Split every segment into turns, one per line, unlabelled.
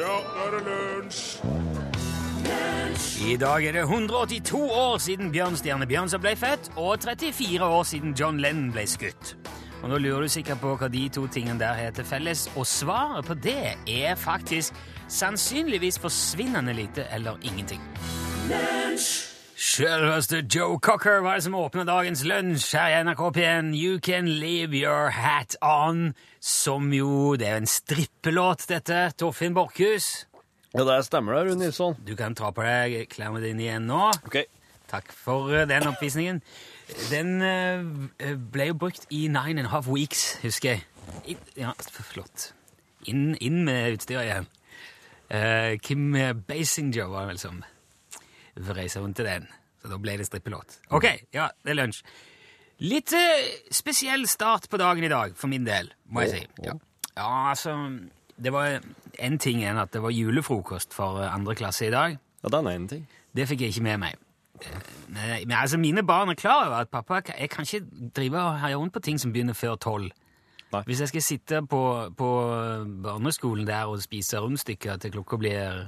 Ja, nå er det lunsj!
I dag er det 182 år siden Bjørnstjerne Bjørnson ble født, og 34 år siden John Lennon ble skutt. Og Nå lurer du sikkert på hva de to tingene der har til felles, og svaret på det er faktisk sannsynligvis forsvinnende lite eller ingenting. Selveste Joe Cocker var det som åpnet dagens lunsj her i NRK P1. You can leave your hat on. Som jo Det er jo en strippelåt, dette. Torfinn Borchhus.
Ja, det stemmer det, Rune Nilsson.
Du kan ta på deg klærne dine igjen nå.
Ok.
Takk for eh, den oppvisningen. Den eh, ble jo brukt i Nine and a Half Weeks, husker jeg. I, ja, flott. Inn, inn med utstyret igjen. Eh, Kim Basinger var vel som vrei seg rundt i den. Så da ble det strippelåt. Ok, ja, det er lunsj. Litt eh, spesiell start på dagen i dag, for min del, må jeg si. Ja. ja, altså, det var en ting enn at det var julefrokost for eh, andre klasse i dag.
Ja, den er en ting.
Det fikk jeg ikke med meg. Eh, Men, men altså, mine barn er klar over at pappa kan- jeg kan ikke drive og herje rundt på ting som begynner før tolv.
Nei.
Hvis jeg skal sitte på, på eh, barneskolen der og spise rundstykker til klokka blir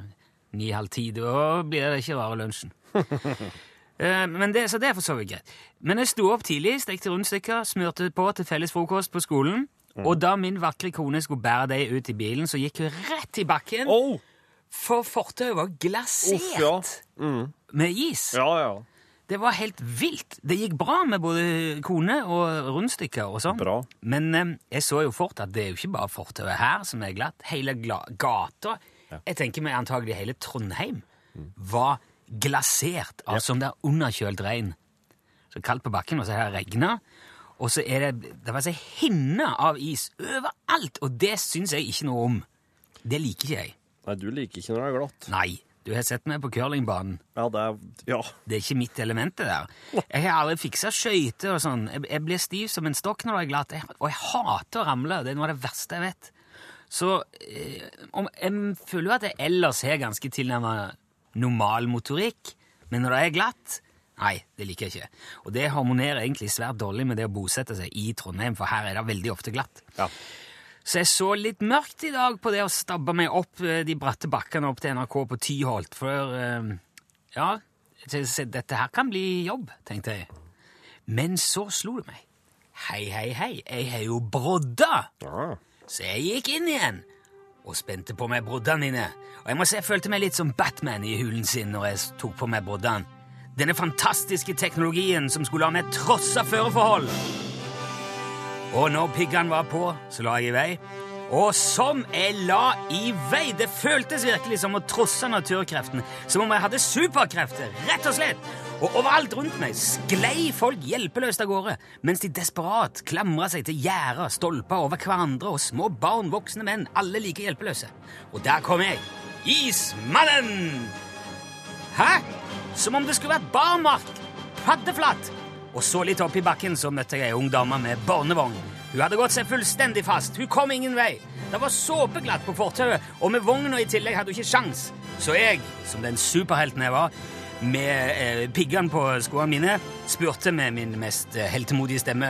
ni-halv ti, da blir det ikke rare lunsjen. Eh, Men det, så det er for så vidt greit. Men jeg sto opp tidlig, stekte rundstykker, smurte på til felles frokost på skolen.
Mm.
Og da min vakre kone skulle bære dem ut i bilen, så gikk hun rett i bakken,
Åh!
for fortauet var glasert
Uff, ja.
med is.
Ja, ja.
Det var helt vilt. Det gikk bra med både kone og rundstykker og sånn.
Bra.
Men eh, jeg så jo fort at det er jo ikke bare fortauet her som er glatt. Hele gla gata, jeg tenker meg antagelig hele Trondheim, var glasert av sånn der underkjølt regn. Så kaldt på bakken, og så har det regnet. Og så er det, det var så hinne av is overalt, og det syns jeg ikke noe om. Det liker ikke jeg.
Nei, du liker ikke når det er glatt.
Nei, du har sett meg på curlingbanen.
Ja, det er... Ja.
Det er ikke mitt element, det der. Jeg har aldri fiksa skøyter og sånn. Jeg, jeg blir stiv som en stokk når jeg er glatt, jeg, og jeg hater å ramle. Det er noe av det verste jeg vet. Så eh, om, jeg føler jo at jeg ellers har ganske tilnærma normal motorikk, men når det er glatt Nei, det liker jeg ikke. Og det harmonerer egentlig svært dårlig med det å bosette seg i Trondheim, for her er det veldig ofte glatt.
Ja.
Så jeg så litt mørkt i dag på det å stabbe meg opp eh, de bratte bakkene opp til NRK på Tyholt, for eh, ja, så jeg sa, dette her kan bli jobb, tenkte jeg. Men så slo det meg. Hei, hei, hei, jeg har jo brodda!
Ja.
Så jeg gikk inn igjen og spente på meg broddene mine. Og jeg må si jeg følte meg litt som Batman i hulen sin når jeg tok på meg broddene. Denne fantastiske teknologien som skulle la meg trosse føreforhold. Og når piggene var på, så la jeg i vei. Og som jeg la i vei! Det føltes virkelig som å trosse naturkreftene. Som om jeg hadde superkrefter, rett og slett. Og overalt rundt meg sklei folk hjelpeløst av gårde, mens de desperat klamra seg til gjerder, stolper over hverandre og små barn, voksne menn, alle like hjelpeløse. Og der kom jeg. Ismannen! Hæ? Som om det skulle vært barmark! Paddeflatt! Og så litt opp i bakken så møtte jeg ei ung dame med barnevogn. Hun hadde gått seg fullstendig fast. Hun kom ingen vei. Det var såpeglatt på fortauet, og med vogna i tillegg hadde hun ikke sjans. Så jeg, som den superhelten jeg var, med eh, piggene på skoene mine, spurte med min mest eh, heltemodige stemme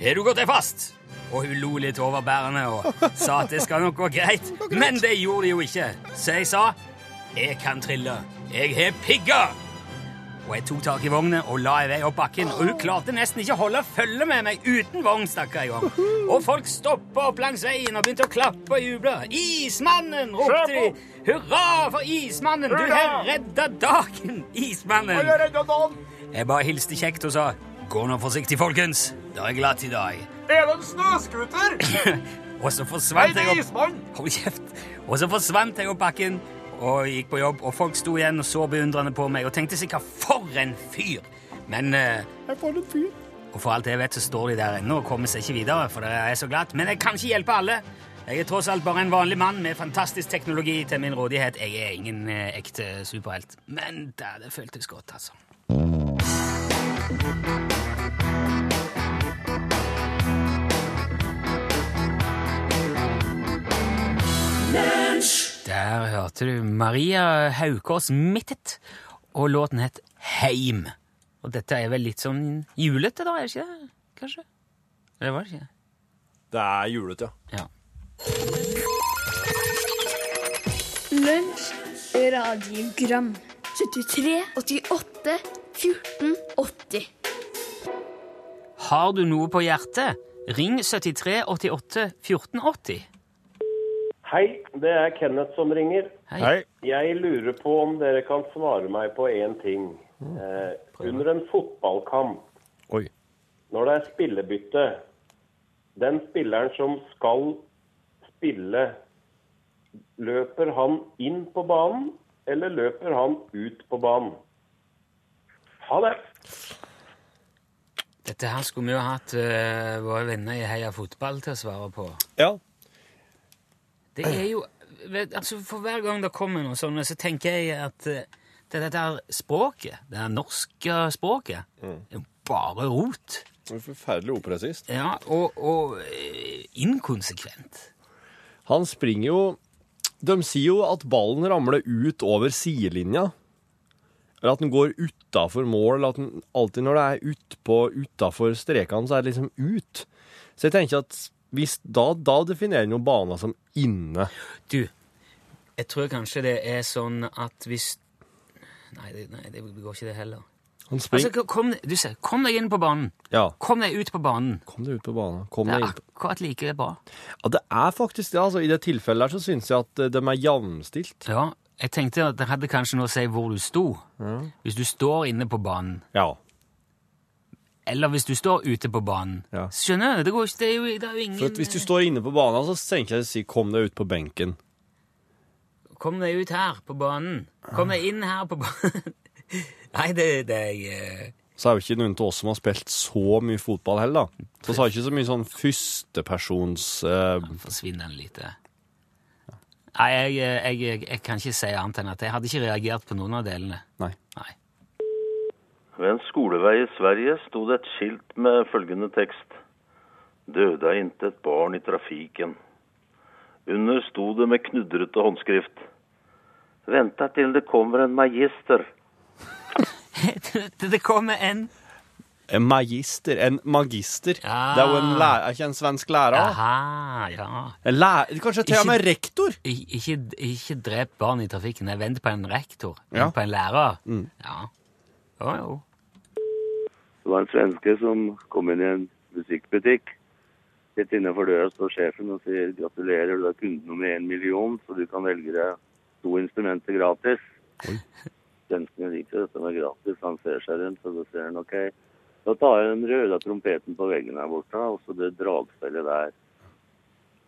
Har du gått deg fast? Og hun lo litt overbærende og sa at det skal nok gå greit. Men det gjorde det jo ikke. Så jeg sa jeg kan trille. Jeg har pigger! Og jeg tok tak i vogna og la i vei opp bakken, og hun klarte nesten ikke å holde følge med meg uten vogn, stakkar jeg om. Og folk stoppa opp langs veien og begynte å klappe og juble. Ismannen! ropte de. Hurra for Ismannen! Du har redda dagen, Ismannen! Jeg bare hilste kjekt og sa gå nå forsiktig, folkens. Det er glatt i dag.
Er det en snøskuter?
Og så
Nei,
forsvant
det
jeg
er
opp
ismann!
Hold kjeft! Og så forsvant jeg opp bakken og gikk på jobb, og folk sto igjen og så beundrende på meg og tenkte sikkert 'for en fyr', men eh,
Jeg får litt fyr.
Og for alt jeg vet, så står de der ennå og kommer seg ikke videre, for det er så glatt. Men jeg kan ikke hjelpe alle. Jeg er tross alt bare en vanlig mann med fantastisk teknologi til min rådighet. Jeg er ingen eh, ekte superhelt. Men da, det føltes godt, altså. Der hørte du Maria Haukås Mittet, og låten het Heim. Og dette er vel litt sånn julete, da? er det ikke det? Kanskje? Eller var det ikke det?
Det er julet, ja.
Ja.
Lunsj, radiogram 73, 88, 14, 80
Har du noe på hjertet? Ring 73 88 1480.
Hei, det er Kenneth som ringer.
Hei.
Hei.
Jeg lurer på om dere kan svare meg på én ting. Eh, under en fotballkamp,
Oi.
når det er spillebytte Den spilleren som skal spille, løper han inn på banen, eller løper han ut på banen? Ha det.
Dette her skulle vi jo hatt eh, våre venner i Heia Fotball til å svare på.
Ja.
Det er jo vet, altså For hver gang det kommer noe sånt, så tenker jeg at eh, det dette her språket, det her norske språket, er jo bare rot.
Det er Forferdelig upresist.
Ja, og, og eh, inkonsekvent.
Han springer jo De sier jo at ballen ramler ut over sidelinja. Eller at den går utafor mål. Eller at den alltid når det er utpå utafor strekene, så er det liksom ut. Så jeg tenker at hvis da, da definerer en jo bana som inne.
Du, jeg tror kanskje det er sånn at hvis Nei, det, nei, det går ikke, det heller.
Han springer
Altså, kom, du ser, kom deg inn på banen.
Ja.
Kom deg ut på banen.
Kom deg ut på banen. Kom
Det
deg
er
inn på
akkurat like bra.
Ja, det er faktisk det. altså. I det tilfellet der så syns jeg at eh, de er jevnstilt.
Ja, jeg tenkte at det hadde kanskje noe å si hvor du sto. Hvis du står inne på banen,
Ja.
eller hvis du står ute på banen.
Ja.
Skjønner du? Det, går ikke, det, er jo, det er jo ingen
For at hvis du står inne på banen, så tenker jeg å si 'kom deg ut på benken'.
Kom deg ut her på banen. Kom deg inn her på banen. Nei, det, det er eh,
Så er jo ikke noen av oss som har spilt så mye fotball heller, da. Så vi har ikke så mye sånn førstepersons eh,
forsvinnende lite. Nei, jeg, jeg, jeg, jeg kan ikke si annet enn at jeg hadde ikke reagert på noen av delene.
Nei.
Nei.
Ved en skolevei i Sverige sto det et skilt med følgende tekst. Døde er intet barn i trafikken. Under sto det med knudrete håndskrift. Venta til det kommer en magister.
Det, det kommer en
En magister. En magister.
Ja.
Det er jo en lærer, er ikke en svensk lærer?
Aha, ja.
En lærer kanskje til og med rektor?
Ik- Ikke, ikke drep barn i trafikken. Jeg venter på en rektor.
Ja. Mm.
Vent på en lærer. Ja. Jo, jo.
Det var en svenske som kom inn i en musikkbutikk. Litt innenfor døra står sjefen og sier gratulerer, du er kunde nummer én million, så du kan velge deg to instrumenter gratis. Svensken liker dette med gratis, han ser seg rundt, og så sier han OK. Da tar jeg den røde trompeten på veggen her borte, og så det dragspillet der.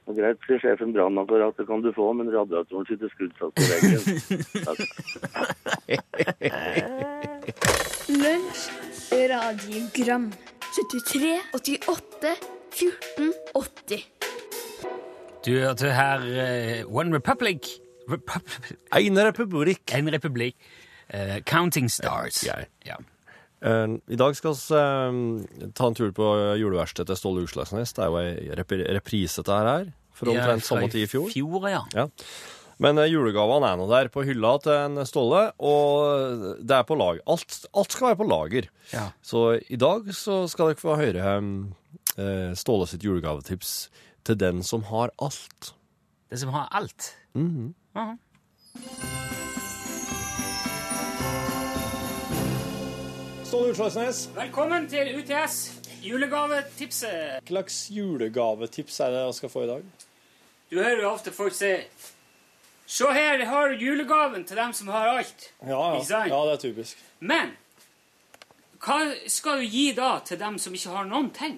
Og greit, sier sjefen, brannapparat det kan du få, men radiatoren sitter skrudd fast på veggen. Takk.
Lunsj, radiogram 73, 88, 14, 80
Du hørte her eh, One Republic. Repub-
Eine republikk.
en republikk. eh, Counting Stars.
Ja.
Ja.
Eh, I dag skal vi eh, ta en tur på juleverkstedet til Ståle Utslagsnes. Det er jo ei rep reprise til dette her, fra
Ja,
omtrent
fra
samme tid i fjor.
fjor ja.
Ja. Men eh, julegavene er nå der på hylla til en Ståle, og det er på lag. Alt, alt skal være på lager.
Ja.
Så i dag så skal dere få høre eh, Ståle sitt julegavetips til den som har alt.
Det som har alt. Aha.
Ståle Utslagsnes,
Velkommen til UTS julegavetipset.
hva slags julegavetips er det jeg skal få i dag?
Du hører jo ofte folk si Se her har du julegaven til dem som har alt. Ikke sant? Ja,
det er typisk.
Men hva skal du gi da til dem som ikke har noen ting?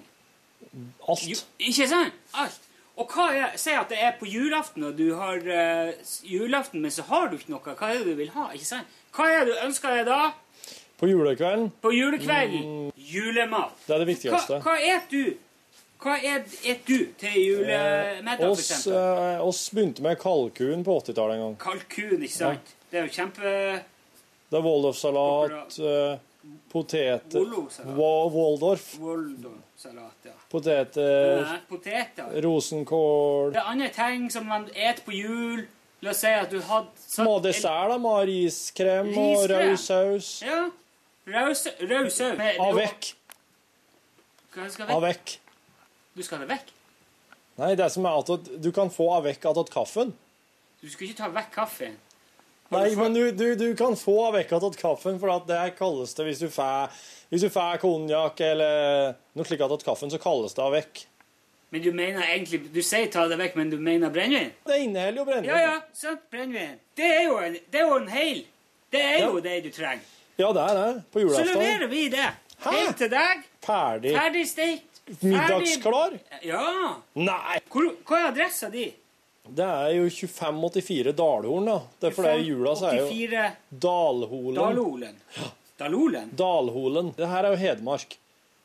Jo, ikke sant? Alt. Og hva er, Si at det er på julaften, og du har eh, s- julaften, men så har du ikke noe. Hva er det du vil ha? ikke sant? Hva er det du ønsker deg da?
På julekvelden,
På julekvelden? Julemat.
det er det
Hva, hva et du? Hva et, et du til
Eh,
julemiddag, for eksempel?
begynte med kalkun på 80-tallet en gang.
Kalkun, ikke sant? Det er jo kjempe...
Det er Waldorf-salat, poteter
Waldorf-salat.
Waldorf. eh,
Waldorf-salat, ja.
Poteter,
Nei, Poteter.
rosenkål
Det er andre ting som man et på jul. La oss si at du hadde satt
Små dessert, da, med riskrem og
Riskrem.
rød saus.
en- Ja. Raus raus sau. Med-
Avec.
Hva skal vekk?
Avec.
Du skal ha det vekk?
Nei, det som er at du kan få avec attåt kaffen.
Du skal ikke ta vekk kaffen.
Nei, men du, du, du kan få av vekka tatt kaffen, for at det er kalles det hvis du får Hvis du får konjakk eller noe slikt tatt kaffen, så kalles det av vekk.
Men du mener egentlig Du sier ta det vekk, men du mener brennevin?
Det inneholder jo brennevin.
Ja, ja, sant, brennevin. Det er jo en, det er jo en hel. Det er jo det du trenger.
Ja, det er det. På
Så
julaften.
leverer vi det.
Hæ?
Helt til deg.
Ferdig.
Ferdig steikt. ferdig-
Middagsklar?
Ja.
Nei!
Hvor, hva er adressa di?
Det er jo 2584 Dalhorn, da. Det er for det er jula, så er jo
84
Dalholen.
Dalolen. Dalolen?
Dalholen. Det her er jo Hedmark.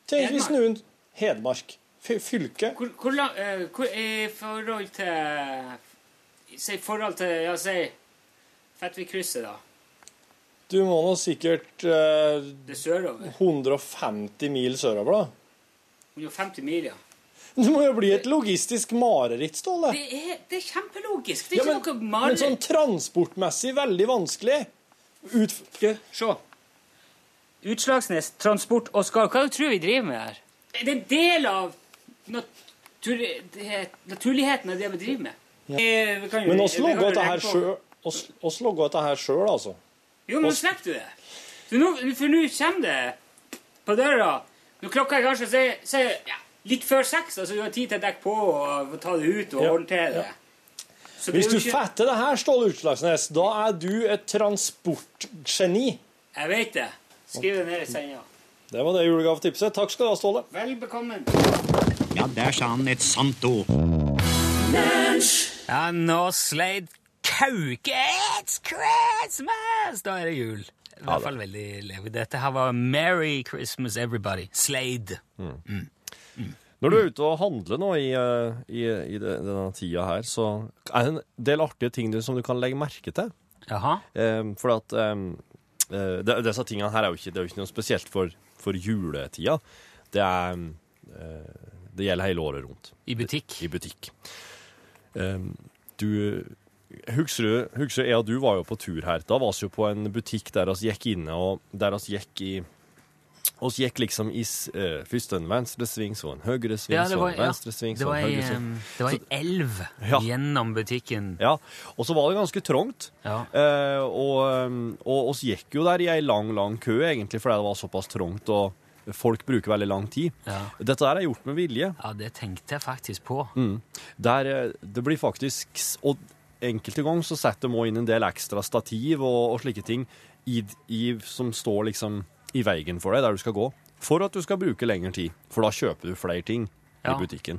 Tenk hvis noen Hedmark. Fy- Fylke.
Hvor, hvor, la- eh, hvor, I forhold til Si forhold til Ja, si Fettvikkrysset, da.
Du må nå sikkert eh,
Det er sørover.
150 mil sørover, da.
150 mil, ja.
Det må jo bli et logistisk mareritt, Ståle.
Det er, det er kjempelogisk. Det er
Ja, men,
ikke noe
men
mareritt.
sånn transportmessig veldig vanskelig. Ut...
sånn- Se. Utslagsnes Transport Oskar, hva tror du vi driver med her? Det er en del av natur, det- naturligheten av det vi driver med. Eh, vi kan jo-
Men
vi
oss
kan
logger
jo
dette her
legge på.
sjøl, oss, oss logger dette her sjøl, altså.
Jo, men nå slipper du det. Så nå, for nå kommer det på døra Når klokka er kanskje sier, sier, ja, litt før seks, altså du har tid til å dekke på og ta det ut og
Ja,
håndtere det. Så
Hvis
blir
du
ikke-
fatter det her, Ståle Utslagsnes, da er du et transportgeni.
Jeg vet det. Skriv det ned i senda.
Det var det julegavetipset. Takk skal du ha, Ståle.
Vel bekommen.
Ja, der sa han et sant ord.
Ja, nå sleit kauke. It's Christmas! Da er det jul. I hvert fall veldig levelig. Dette her var Merry Christmas Everybody. Slade.
Når du er ute og handler nå i, eh, i, i de- denne tida her, så er det en del artige ting du, som du kan legge merke til.
Jaha.
Um, for at um, eh, de, disse tingene her er jo ikke, det er jo ikke noe spesielt for, for juletida. Det er um, eh, Det gjelder hele året rundt
I butikk.
i butikk. Um, du Husker du, husker du, jeg og du var jo på tur her. Da var vi jo på en butikk der oss gikk inne, og der oss gikk i oss gikk liksom i s- eh, først en venstre sving, så en høyre sving,
Ja, det
så
var,
en
ja.
venstre sving,
det
så
var eh,
en
ei,
høyre sving.
em, det var ei elv
Ja.
gjennom butikken.
Ja, og så var det ganske trångt.
Ja.
Eh, og, um, og oss gikk jo der i ei lang, lang kø, egentlig, fordi det var såpass trångt, og folk bruker veldig lang tid.
Ja.
Dette her er gjort med vilje.
Ja, det tenkte jeg faktisk på.
Mm. Der, eh, det blir faktisk s- Og enkelte ganger så setter de også inn en del ekstra stativ og, og slike ting i, i, som står liksom i veien for deg der du skal gå, for at du skal bruke lengre tid. For da kjøper du flere ting
Ja.
i butikken.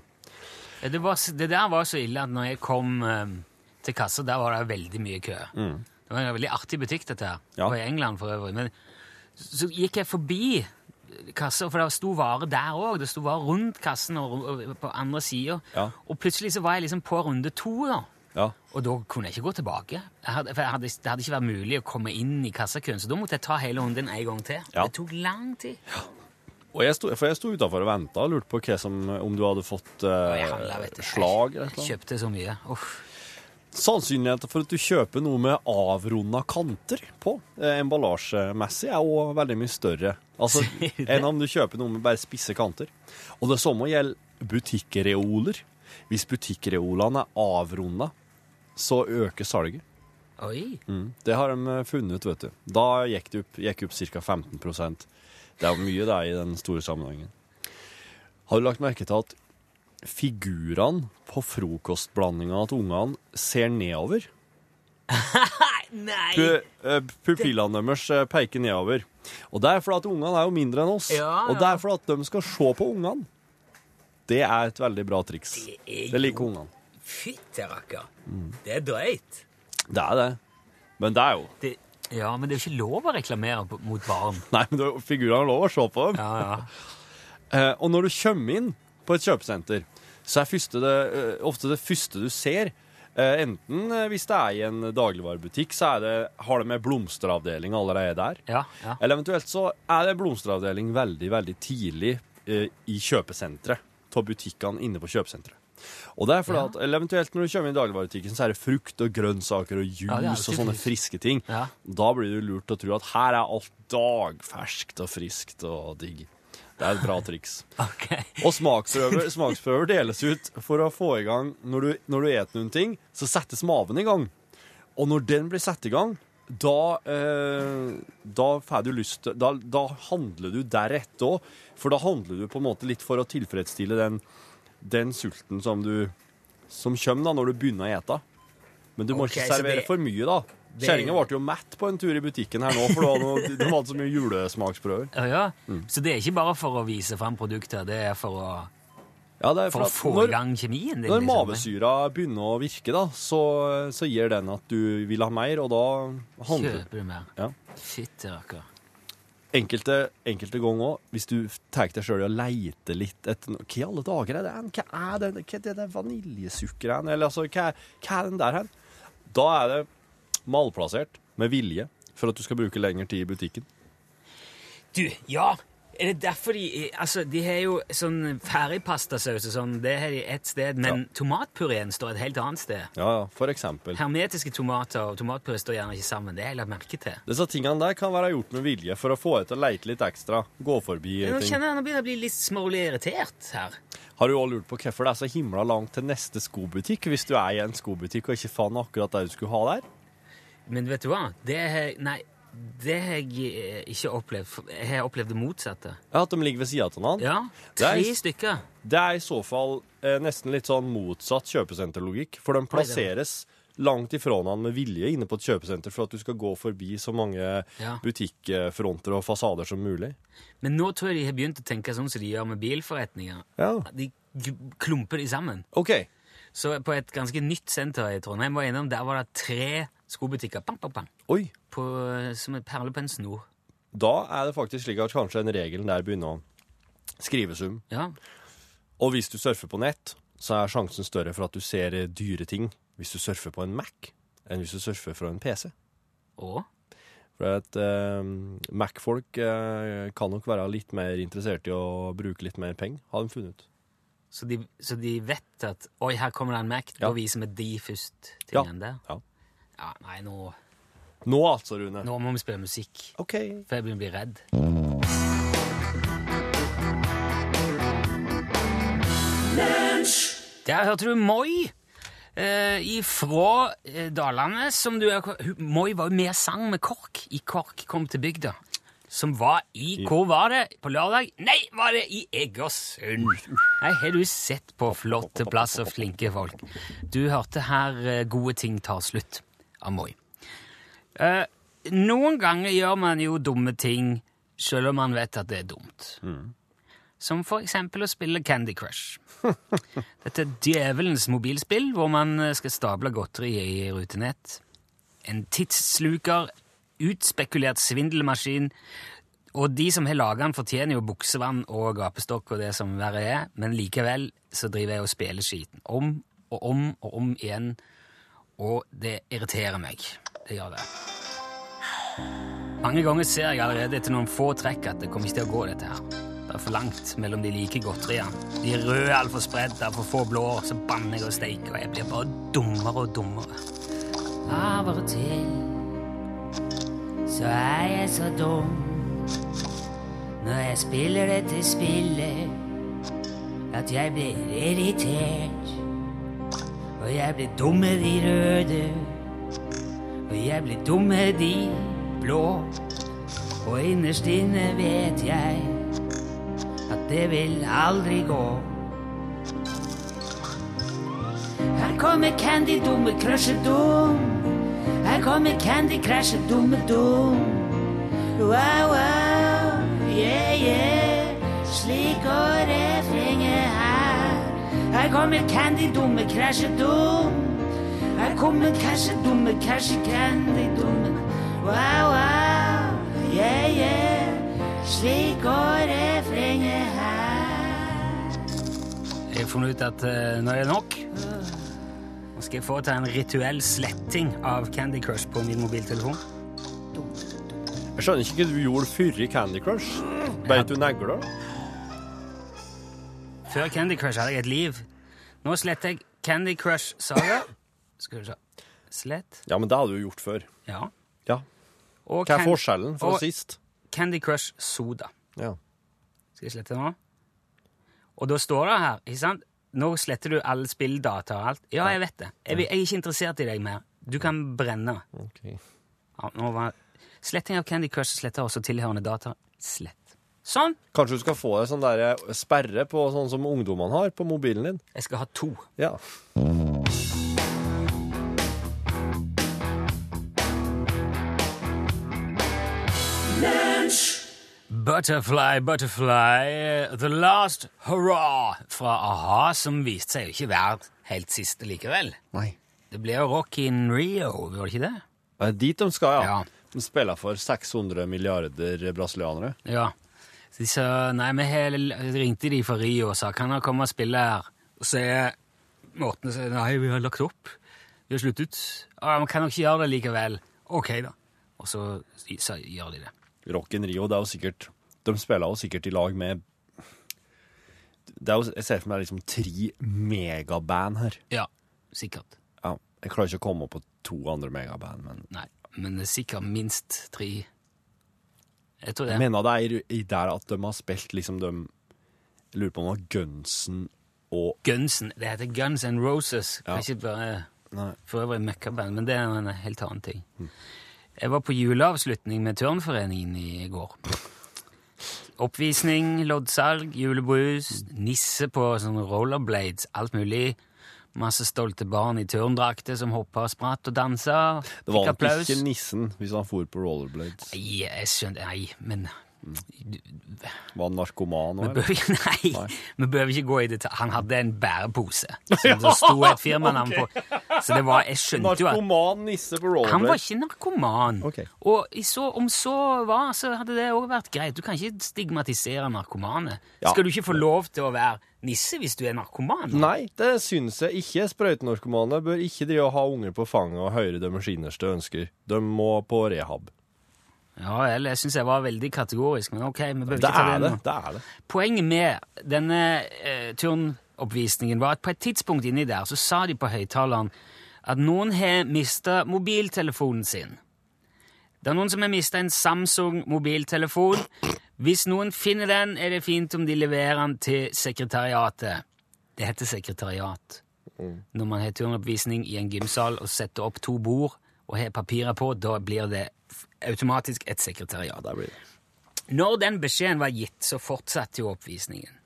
Eh, Det, var, s- det der var så ille at når jeg kom em, til kassa, der var det veldig mye kø. Det var en veldig artig butikk, dette her.
Mm. Ja.
Det var i England for øvrig. Men så gikk jeg forbi kassa, for det sto varer der òg. Det sto varer rundt kassen og, og på andre sida.
Ja.
Og plutselig så var jeg liksom på runde to, da.
Ja.
Og da kunne jeg ikke gå tilbake. Jeg hadde, for jeg hadde, det hadde ikke vært mulig å komme inn i kassakøen, så da måtte jeg ta hele runden en gang til.
Ja.
Det tok lang tid.
Og jeg sto, for jeg sto utafor og venta og lurte på hva som, om du hadde fått
Og
eh,
jeg handla, vet du.
slag eller et eller
Jeg
annet.
kjøpte så mye. Uff.
Sannsynligheten for at du kjøper noe med avrunda kanter på, eh, emballasjemessig, er jo veldig mye større altså, enn om du kjøper noe med bare spisse kanter. Og det samme gjelder butikkreoler. Hvis butikkreolene er avrunda, så øker salget.
Oi.
Mm. Det har de eh, funnet ut, vet du. Da gikk det opp, gikk opp ca. 15 Det er jo mye det i den store sammenhengen. Har du lagt merke til at figurene på frokostblandinga til ungene ser nedover?
Nei!
Pu- eh, Pupillene deres eh, peker nedover. Og det er fordi at ungene er jo mindre enn oss.
Ja,
Og det er fordi at de skal se på ungene. Det er et veldig bra triks.
er
Det liker ungene.
Fytti rakker.
Mm.
Det er drøyt.
Det er det. Men det er jo
Det, ja, men det er jo ikke lov å reklamere på- mot barn.
Nei, men det er jo- figurene har lov å se på dem.
Ja, ja.
Eh, og når du kommer inn på et kjøpesenter, så er første det, eh, ofte det første du ser eh, Enten eh, hvis det er i en dagligvarebutikk, så er det, har de med blomsteravdeling allerede der.
Ja, ja.
Eller eventuelt så er det blomsteravdeling veldig, veldig tidlig eh, i kjøpesenteret. Av butikkene inne på kjøpesenteret. Og det er fordi at, eller eventuelt når du kommer inn i dagligvarebutikken, så er det frukt og grønnsaker og juice
Ja, det er
og
alltid
sånne
frukt.
friske ting.
Ja.
Da blir du lurt til å tro at her er alt dagferskt og friskt og digg. Det er et bra triks.
Ok.
Og smaksprøver, smaksprøver deles ut for å få i gang Når du, når du et noen ting, så settes maven i gang. Og når den blir satt i gang, da, eh, da får du lyst til da, da handler du deretter òg, for da handler du på en måte litt for å tilfredsstille den, den sulten som du som kommer da, når du begynner å ete. Men du må
Ok,
ikke
så
servere
det-
for mye, da.
det-
Kjerringa ble jo mett på en tur i butikken her nå, for det var noe, de hadde så mye julesmaksprøver.
Ja, ja.
Mm.
Så det er ikke bare for å vise fram produkter, det er for å,
Ja, det er
for å
at
få
når-
i gang kjemien din.
Når
liksom.
mavesyra begynner å virke, da, så, så gir den at du vil ha mer, og da handler
Kjøper du mer.
Ja.
Shit, det rakker.
Enkelte, enkelte ganger òg, hvis du tar deg sjøl i å leite litt etter noe- Hva i alle dager er det? hen? Hva er det, hva er det der vaniljesukkeret hen? Eller altså, hva, er- hva er den der hen? Da er det malplassert med vilje for at du skal bruke lengre tid i butikken.
Du, ja! Er det derfor de Altså, de har jo sånn ferdigpastasaus og sånn, det har de ett sted, men tomatpureen står et helt annet sted.
Ja, ja, for eksempel.
Hermetiske tomater og tomatpuré står gjerne ikke sammen. Det har jeg lagt merke til.
Disse tingene der kan være gjort med vilje for å få deg til å leite litt ekstra. Gå forbi
Men Nå
ting.
kjenner jeg nå begynner jeg å bli litt smålig irritert her.
Har du òg lurt på hvorfor det er så himla langt til neste skobutikk hvis du er i en skobutikk og ikke fant akkurat det du skulle ha der?
Men vet du hva? Det har Nei, det har jeg eh, ikke opplevd. For Jeg har opplevd det motsatte.
Ja, At de ligger ved sida av hverandre?
Ja,
Det er
tre
i-
stykker.
Det er i så fall eh, nesten litt sånn motsatt kjøpesenterlogikk, for de plasseres langt ifra hverandre med vilje inne på et kjøpesenter for at du skal gå forbi så mange
Ja.
butikkfronter og fasader som mulig.
Men nå tror jeg de har begynt å tenke sånn som de gjør med bilforretninger.
Ja.
De g- klumper de sammen.
OK.
Så på et ganske nytt senter i Trondheim var jeg innom, der var det tre skobutikker bang, bang, bang,
Oi.
på, eh, som er perler på en snor.
Da er det faktisk slik at kanskje den regelen der begynner å skrivesum.
Ja,
Og hvis du surfer på nett, så er sjansen større for at du ser eh, dyre ting hvis du surfer på en Mac, enn hvis du surfer fra en PC.
og?
For at eh, Mac-folk eh, kan nok være litt mer interessert i å bruke litt mer penger, har de funnet ut.
Så de, så de vet at Oi, her kommer det en Mac. Da
Ja.
viser vi de først tingene der.
Ja.
Ja, Nei, nå,
Nå altså, Rune.
nå må vi spille musikk,
OK.
for jeg begynner å bli redd. Der hørte du Moi eh, ifra eh, Dalane. Som du, hun- Moi var jo med og sang med KORK i KORK kom til bygda. Som var i Hvor var det? På lørdag? Nei, var det i Egersund? Nei, har du sett på flotte plass og flinke folk? Du hørte her eh, Gode ting tar slutt av Moi. Eh, noen ganger gjør man jo dumme ting selv om man vet at det er dumt. Som for eksempel å spille Candy Crush. Dette er djevelens mobilspill, hvor man eh, skal stable godteri i rutenett. En tidssluker, utspekulert svindelmaskin, og de som har laget den fortjener jo buksevann og gapestokk og det som verre er, men likevel så driver jeg og spiller skiten. Om og om og om igjen, og det irriterer meg. Det gjør det. Mange ganger ser jeg allerede etter noen få trekk at det kommer ikke til å gå, dette her. Det er for langt mellom de like godteriene. De røde er altfor spredt, det er for få blå, så banner jeg og steiker, og jeg blir bare dummere og dummere. Av og til så er jeg så dum når jeg spiller dette spillet, at jeg blir irritert. Og jeg blir dumme de røde, og jeg blir dumme de blå. Og innerst inne vet jeg at det vil aldri gå. Her kommer Candy Dumme Crusher Dum. Her kommer Candy Crusher Dumme Dum. Wow, wow, yeah, yeah. Slik går refrenget her. Her kommer Candy Dumme Crusher Dum. Her kommer Crusher Dumme Crusher Candy Dumme. Wow, wow, yeah, yeah. Slik går refrenget her. Jeg har funnet ut at eh, nå er det nok. Nå skal jeg foreta en rituell sletting av Candy Crush på min mobiltelefon.
Jeg skjønner ikke hva du gjorde før i Candy Crush. Beit du negler?
Før Candy Crush hadde jeg et liv. Nå sletter jeg Candy Crush Saga. Skal vi se. Slett.
Ja, men det hadde du gjort før.
Ja.
Ja.
Og
Hva er
Can-
forskjellen fra
og
sist?
Candy Crush Soda.
Ja.
Skal jeg slette nå? Og da står det her, ikke sant? Nå sletter du alle spilldata og alt. Ja, jeg vet det. Jeg, vil- jeg er ikke interessert i deg mer. Du kan brenne.
ok.
Ja, nå var Sletting av Candy Crush sletter også tilhørende data. Slett. Sånn.
Kanskje du skal få deg sånn der sperre på sånn som ungdommene har på mobilen din?
Jeg skal ha to.
Ja.
Butterfly, Butterfly, The Last Hurrah fra a-ha, som viste seg jo ikke være helt siste likevel.
Nei.
Det ble jo Rock in Rio, var det ikke det?
Det er dit de skal, ja.
Ja.
De spiller for 600 milliarder brasilianere.
Ja. Så de sa Nei, vi har- ringte de fra Rio og sa kan dere komme og spille her. Og så er Morten og sier nei, vi har lagt opp. Vi har sluttet. Ja, men kan dere ikke gjøre det likevel? Ok, da. Og så, så gjør de det.
Rock in Rio, det er jo sikkert De spiller jo sikkert i lag med det er jo, Jeg ser for meg liksom tre megaband her.
Ja, sikkert.
Ja, jeg klarer ikke å komme opp på to andre megaband, men
Nei, men det er sikkert minst tre. Jeg tror det.
jeg mener det er i- i der at de har spilt liksom de Jeg lurer på om det var Gunsen og
Gunsen. Det heter Guns N' Roses.
Ja.
Kanskje bare
Nei. Mm.
for øvrig møkkaband, men det er jo en helt annen ting. Jeg var på juleavslutning med Tørnforeningen i går. Oppvisning, loddsalg, julebrus, nisse på sånne rollerblades, alt mulig. Masse stolte barn i turndrakter som hoppa og spratt og dansa.
Det var
Fikk
nok
applaus.
ikke nissen hvis han for på rollerblades.
Nei, jeg skjønner Nei, men du-
Var han narkoman
vi
òg, eller?
behøver, nei, vi behøver ikke gå i detalj. Han hadde en bærepose. Så det sto et firmanavn på. Så det var, jeg skjønte jo at
Narkoman nisse på rollerblades.
han var ikke narkoman.
Ok.
Og i så, om så var, så hadde det òg vært greit. Du kan ikke stigmatisere narkomane.
Ja.
Skal du ikke få lov til å være nisse hvis du er narkoman?
Nei, det syns jeg ikke. Sprøytenorkomane bør ikke drive og ha unger på fanget og høre deres innerste ønsker. De må på rehab.
Ja vel, jeg syns jeg var veldig kategorisk, men ok. vi behøver
Det
ikke ta
er
den
det.
nå.
det er det.
Poenget med denne eh, turnoppvisningen var at på et tidspunkt inni der så sa de på høyttaleren at noen har mista mobiltelefonen sin. Det er noen som har mista en Samsung-mobiltelefon. Hvis noen finner den, er det fint om de leverer den til sekretariatet. Det heter sekretariat når man har turnoppvisning i en gymsal og setter opp to bord og har papirer på. Da blir det f- automatisk et sekretariat.
Der blir det.
Når den beskjeden var gitt, så fortsatte jo oppvisningen.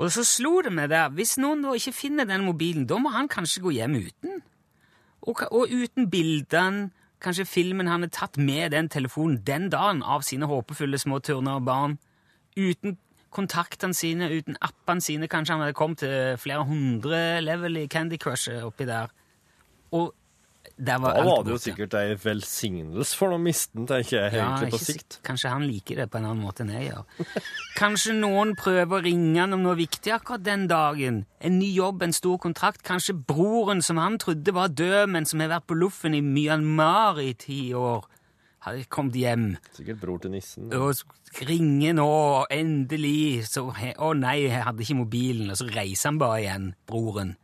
Og så slo det meg der, hvis noen da ikke finner den mobilen, da må han kanskje gå hjem uten. Og, ka- og uten bildene, kanskje filmen han har tatt med den telefonen den dagen av sine håpefulle små turner og barn. Uten kontaktene sine, uten appene sine, kanskje han hadde kommet til flere hundre level i Candy Crush oppi der. Og der var
Da
alt
var det jo
borte.
sikkert ei velsignelse for dem misten, tenker jeg,
Ja,
egentlig, på
ikke
sikt.
sik- Kanskje han liker det på en annen måte enn jeg gjør. Kanskje noen prøver å ringe han om noe viktig akkurat den dagen. En ny jobb, en stor kontrakt. Kanskje broren som han trodde var død, men som har vært på loffen i Myanmar i ti år, har kommet hjem.
Sikkert bror til nissen.
Og s- ringer nå, og endelig så, he- Å nei, jeg hadde ikke mobilen. Og så reiser han bare igjen, broren.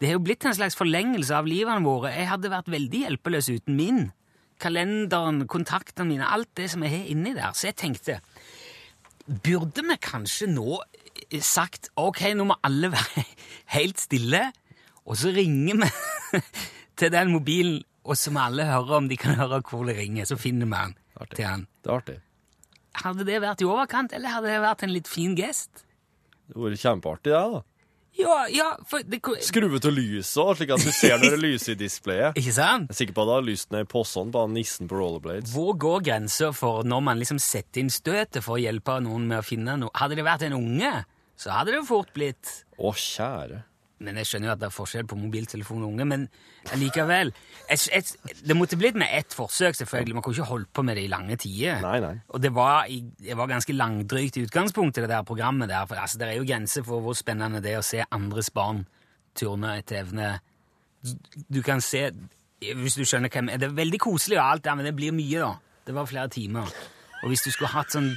Det har jo blitt en slags forlengelse av livene våre. Jeg hadde vært veldig hjelpeløs uten min. Kalenderen, kontaktene mine, alt det som jeg har inni der. Så jeg tenkte Burde vi kanskje nå eh, sagt OK, nå må alle være helt stille, og så ringer vi til den mobilen, og så må alle høre om de kan høre hvor det ringer. Så finner vi han
Artig.
til han.
Det er artig.
Hadde det vært i overkant, eller hadde det vært en litt fin gest?
Det hadde vært kjempeartig, det, da.
Ja, ja, for det ko-
Skru ut av lyset òg, slik at du ser når det lyser i displayet.
Ikke sant?
Jeg er sikker på at det har lyst ned i posen på han nissen på rollerblades.
Hvor går grensa for når man liksom setter inn støtet for å hjelpe noen med å finne noe? Hadde det vært en unge, så hadde det fort blitt
Å, kjære.
Men jeg skjønner jo at det er forskjell på mobiltelefon og unge, men likevel. Jeg, jeg, det måtte blitt med ett forsøk, selvfølgelig. Man kunne ikke holdt på med det i lange tider.
Nei, nei.
Og det var, i, det var ganske langdrygt i utgangspunktet, det der programmet der. For altså, det er jo grenser for hvor spennende det er å se andres barn turne etter evne. Du kan se Hvis du skjønner hvem Det er veldig koselig og alt der, men det blir mye, da. Det var flere timer. Og hvis du skulle hatt sånn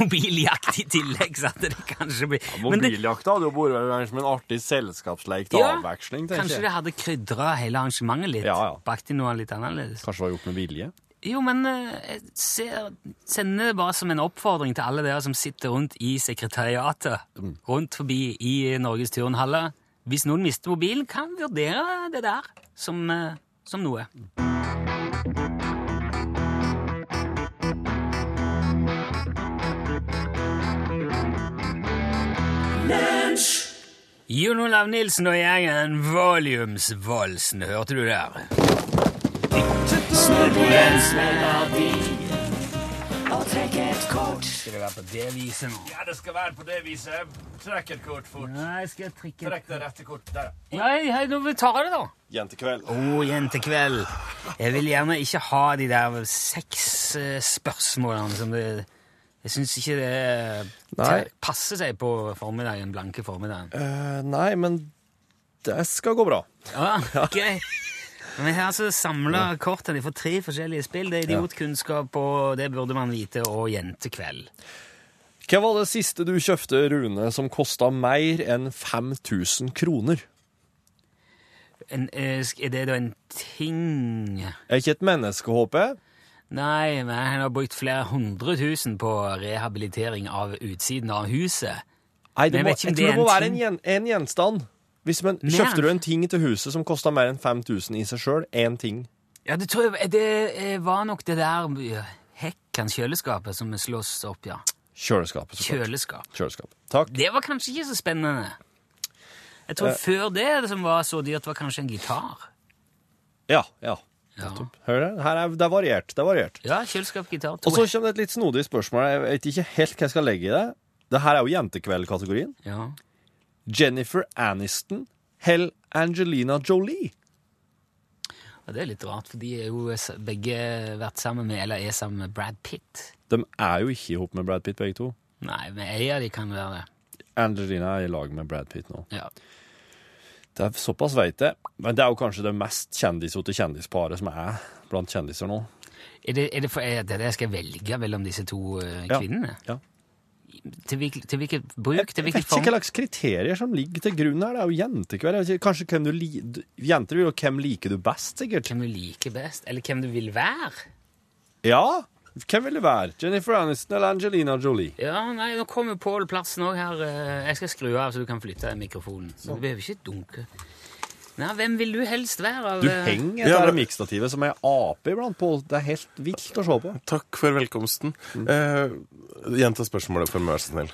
mobiljakt i tillegg, så hadde det kanskje blitt Men det-
Mobiljakta hadde jo vært som en artig selskapsleik til avveksling, tenker
Kanskje det
jeg.
hadde krydra hele arrangementet litt?
Ja, ja.
Bakt inn noe litt annerledes?
Kanskje det var gjort med vilje?
Jo, men eh, jeg ser, sender det bare som en oppfordring til alle dere som sitter rundt i sekretariatet rundt forbi i Norges turnhalle. Hvis noen mister mobilen, kan vurdere det der som, eh, som noe. Jon Olav Nilsen og gjengen Valiumsvalsen, hørte du der? Skal det være på det viset nå?
Ja, det skal være på det viset. Trekk et kort fort.
Nei, skal jeg trekke
Trekk det rette kortet der.
Nei, hei, nå vi tar det, da.
Jentekveld.
Å, jentekveld. Jeg vil gjerne ikke ha de der seks eh, spørsmålene som det Jeg syns ikke det eh,
Nei.
passer seg på formiddagen, blanke formiddagen.
Eh, nei, men det skal gå bra.
Ja, ok. Men jeg har altså samla kortene fra tre forskjellige spill. Det er idiotkunnskap, og det burde man vite, og jentekveld.
Hva var det siste du kjøpte, Rune, som kosta mer enn 5000 kroner?
En, eh, sk- er det da en ting
Er ikke et menneske, håper jeg?
Nei, men han har brukt flere hundre tusen på rehabilitering av utsiden av huset.
Nei, det
Men jeg
må,
vet
jeg
ikke om det
tror
er
det må
en
være en, gjen, en gjenstand. Hvis man,
Mer.
kjøpte du en ting til huset som kosta mer enn 5000 i seg sjøl? Én ting.
Ja, det tror jeg Det eh, var nok det der eh, hekkens kjøleskapet som vi slåss opp, ja.
Kjøleskapet. så klart.
Kjøleskap.
Kjøleskap. Takk.
Det var kanskje ikke så spennende. Jeg
Eh.
tror før det det som var så dyrt, var kanskje en gitar.
Ja. ja.
Ja,
Hør her. her er, det er variert. Det er variert.
ja kjøleskap, gitar.
Og så
To.
kommer det et litt snodig spørsmål. Jeg vet ikke helt hva jeg skal legge i det. Det her er jo jentekveld-kategorien.
Ja.
Jennifer Aniston hell Angelina Jolie.
Og det er litt rart, for de er jo s- begge vært sammen med, eller er sammen med Brad Pitt.
De er jo ikke ihop med Brad Pitt, begge to.
Nei, men ei av de kan være det.
Angelina er i lag med Brad Pitt nå.
Ja.
Det er såpass veit jeg. Men det er jo kanskje det mest kjendisete kjendisparet som er blant kjendiser nå.
Er det, er det, for, er det det jeg skal velge mellom disse to eh,
Ja.
kvinnene?
Ja.
Til, hvilket, til hvilket bruk? Til
Jeg
hvilket
vet ikke hva
form?
slags kriterier som ligger til grunn her. Det er jo jentekveld. Jeg vet ikke, Kanskje hvem du li du- Jenter vil jo hvem liker du best, sikkert.
Hvem du liker best? Eller hvem du vil være?
Ja! Hvem vil det være? Jennifer Aniston eller Angelina Jolie?
Ja, nei, nå kommer Pål plassen òg her. eh, Jeg skal skru av, så du kan flytte mikrofonen. Så du behøver ikke dunke. Nei, hvem vil du helst være? Av,
Du
eh,
henger etter det mikstativet som ei ape iblant på. Det er helt vilt å se på.
Takk for velkomsten. Eh, Gjenta spørsmålet for meg, vær så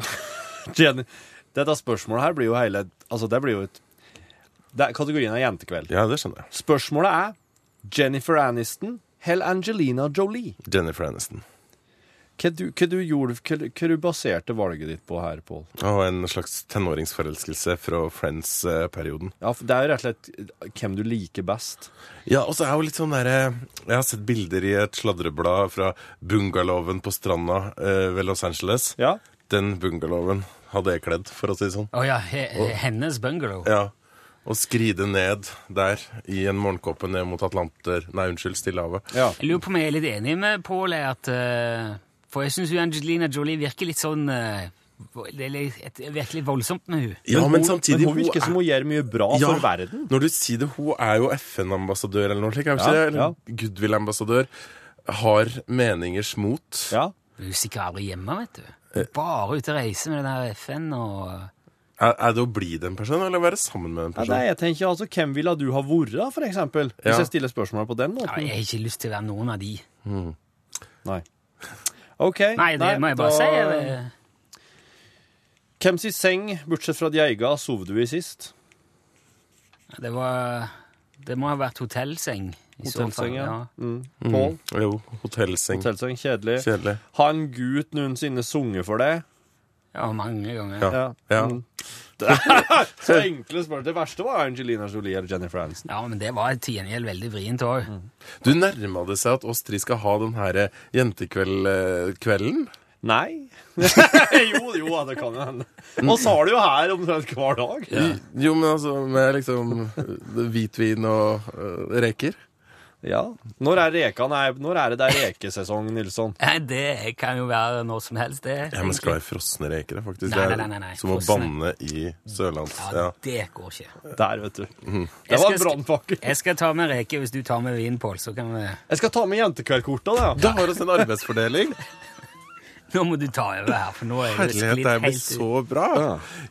snill.
Jenny, dette spørsmålet her blir jo hele Altså, det blir jo et det er, Kategorien er jentekveld.
Ja, det skjønner jeg.
Spørsmålet er Jennifer Aniston eller Angelina Jolie.
Jennifer Aniston.
Hva du, hva du gjorde hva, du- hva du baserte valget ditt på her, Pål?
Og en slags tenåringsforelskelse fra eh, Friends-perioden.
Ja, for det er jo rett og slett eh, hvem du liker best.
Ja, og så er jo litt sånn der, eh, Jeg har sett bilder i et sladreblad fra bungalowen på stranda eh, ved Los Angeles.
Ja.
Den bungalowen hadde jeg kledd, for å si det sånn.
Å ja, he, hennes bungalow.
Ja. Å skride ned der i en morgenkåpe ned mot Atlanter Nei, unnskyld, Stillehavet.
Ja.
Jeg lurer på om jeg er litt enig med Pål her. at, eh, For jeg syns Angelina Jolie virker litt sånn eh, vo- Det er litt- et- virkelig voldsomt med hun.
Ja, men samtidig
hun virker som hun gjør mye bra for verden.
Når du sier det, hun er jo FN-ambassadør eller noe slikt. er hun ikke
Ja,
det? Eller Goodwill-ambassadør. Har meningers mot.
Ja.
Hun er sikkert aldri hjemme, vet du. Hun er Bare ute og reise med det der FN og
Er, er det å bli den personen, eller være sammen med den
ja nei,
personen?
jeg tenker altså, Hvem ville du ha vært, for eksempel? Hvis
Ja.
jeg stiller spørsmålet på den
ja,
måten.
Jeg har ikke lyst til å være noen av de.
Nei. OK.
Nei, det må jeg bare
da-
si. eh, jeg-
Hvem sin seng, bortsett fra de eiga, sov du i sist?
Det var Det må ha vært hotellseng. i så fall,
Hotellseng, ja.
ja.
Mm. Pål?
Jo, hotellseng.
Hotellseng, kjedelig.
Kjedelig.
Har en gutt noensinne sunget for deg?
Ja, mange ganger.
Ja.
Ja.
Ja.
Ja.
Mm. Så enkle spørsmål. Det verste var Angelina Jolie eller Jennifer Aniston.
men det var til gjengjeld veldig vrient òg.
Du nærma det seg at oss tre skal ha den her eh, jentekvelden.
Nei. jo, jo, det kan jo hende. Og så har du jo her omtrent hver dag.
Jo, men altså med liksom eh, hvitvin og eh, reker.
Ja. Når er reka? Nei, når er det det er rekesesong, Nilsson?
Nei, det kan jo være når som helst, det.
Ja, men skal være frosne reker, det er faktisk.
Nei,
Det er
nei, nei, nei, nei.
Som å
Frosne.
banne i sørlands... Ja.
Ja, det går ikke.
Der, vet du. Det
Jeg
var
skal-
en brannpakke.
Jeg skal ta med reke hvis du tar med vin, Pål, så kan vi
Jeg skal ta med jentekveldkorta, da.
Da har oss en arbeidsfordeling.
Nå må du ta over her, for nå er det
Herlighet,
sklidd
det her blir
helt ut.
så bra.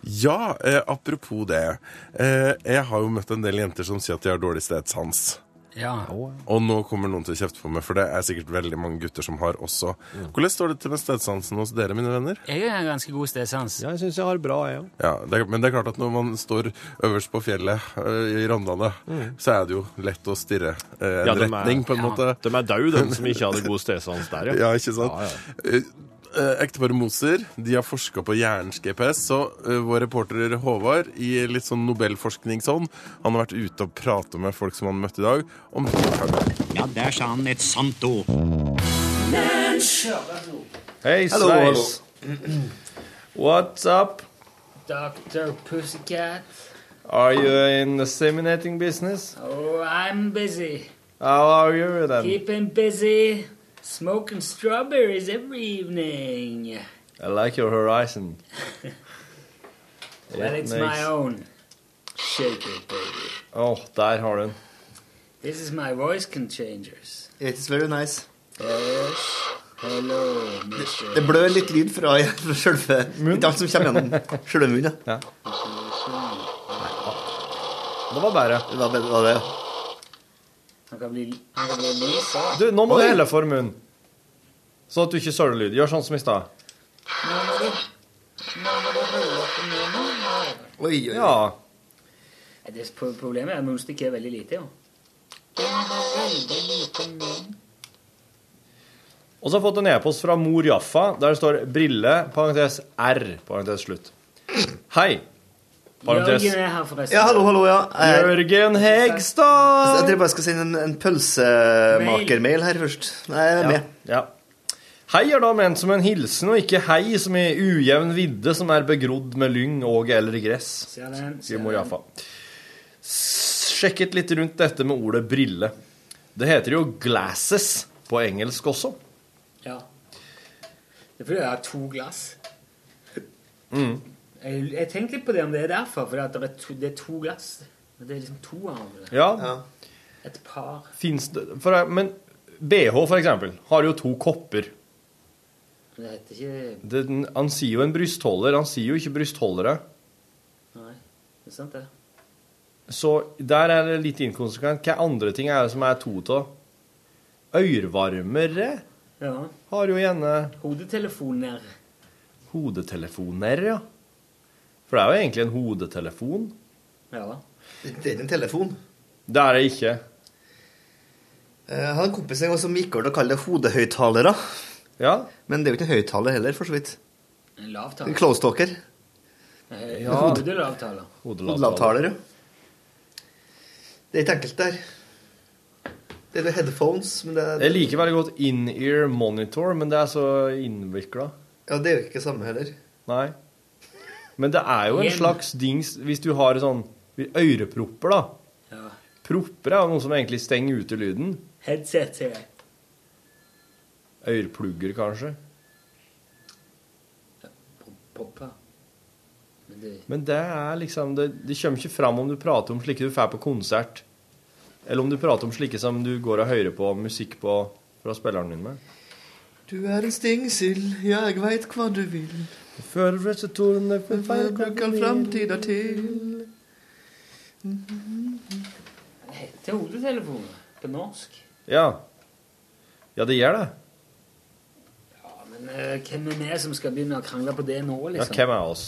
Ja, eh, apropos det. Eh, jeg har jo møtt en del jenter som sier at de har dårlig stedsans.
Ja.
Og nå kommer noen til å kjefte på meg, for det er sikkert veldig mange gutter som har også. Hvordan står det til med stedsansen hos dere, mine venner?
Jeg er en ganske god stedsans.
Ja, jeg syns jeg har bra, jeg òg.
Ja, det, Men det er klart at når man står øverst på fjellet ø, i Rondane,
Mm.
så er det jo lett å stirre ø, en
Ja, de er-
retning, på
ja.
en måte.
De er dau, de som ikke hadde god stedsans der, ja.
ja. ikke sant?
Ja,
Eh, eh, Ekteparet Moser de har forska på hjernens GPS, så eh, vår reporter Håvard i litt sånn Nobelforskningsånd han har vært ute og prata med folk som han møtte i dag, om
Ja, der sa han et sant ord.
Hey,
Hello,
Slice. What's up?
Dr. Pussycat.
Are you in the seminating business?
Oh, I'm busy.
How are you then?
Keeping busy. Smoking strawberries every evening.
I like your horizon.
Well, it's my own. Shake it, baby.
Oh, der har du den.
This is my voice can changers.
It's very nice.
Yes. Hello, mister.
Det blør litt lyd fra, fra sjølve Ikke alt som kommer gjennom sjølve munnen. Ja.
Det var bedre.
Det var bedre, det var det.
Han kan bli, han kan bli Lisa.
Du, nå må
Oi.
du helle for munnen. Sånn at du ikke søler lyd. Gjør sånn som i stad.
Nå må du Nå må du holde opp med munnen. her.
Ja.
Nei, Det pro- problemet er at noen stikker veldig lite, jo.
Og så har jeg fått en e-post fra mor Jaffa, der det står 'brille', parentes R, parentes slutt. Hei. Parentes.
Jørgen er her, forresten.
Ja, hallo, hallo, ja. Eh,
Jørgen Hegstad!
Jeg tror jeg bare skal sende en, en pølsemakermail her først. Nei, jeg er
Ja,
med.
ja. Hei er da ment som en hilsen, og ikke hei som i ujevn vidde som er begrodd med lyng og eller gress.
Ser den, ser
Skriver mor
den.
Jaffa. S- Sjekket litt rundt dette med ordet brille. Det heter jo 'glasses' på engelsk også.
Ja. Det er fordi jeg har to glass.
Mm.
Jeg, jeg tenkte litt på det om det er derfor, for det er to, det er to glass. Men Det er liksom to av hverandre.
Ja.
Et par.
Finnes det for, Men BH, for eksempel, har jo to kopper.
Men Det heter ikke
Det, han sier jo en brystholder. Han sier jo ikke brystholdere.
Nei, det er sant, det.
Så der er det litt inkonsekvent. Hva andre ting er det som er to av? Øyrvarmere?
Ja.
Har jo gjerne
Hodetelefoner.
Hodetelefoner, ja. For det er jo egentlig en hodetelefon.
Ja.
Det er en telefon. Eh,
Det er det ikke.
Jeg hadde en kompis en gang som gikk over til å kalle det hodehøyttalere.
Ja.
Men det er jo ikke en høyttaler heller, for så vidt.
En lavtaler.
En close talker.
Eh,
Ja.
Hodelavtaler.
Hodelavtaler, ja. Det er ikke enkelt der. Det er det headphones, men det er
Jeg liker veldig godt in-ear monitor, men det er så innvikla.
Ja, det er jo ikke det samme heller.
Nei. Men det er jo en
Igjen.
slags dings hvis du har sånn ørepropper, da.
Ja.
Propper er jo noe som egentlig stenger ute lyden.
Headset. sier jeg.
Øreplugger, kanskje.
Popper. Men det
Men det er liksom Det, det kommer ikke fram om du prater om slike du får på konsert, eller om du prater om slike som du går og hører på musikk på fra spilleren din med.
Du er en stingsild, jeg veit hva du vil.
Fører seg tårene for
kan framtida til.
det heter hodetelefoner på norsk.
Ja. Ja, det gjør det.
Ja, men eh, hvem er vi som skal begynne å krangle på det nå,
Ja,
liksom?
hvem er oss?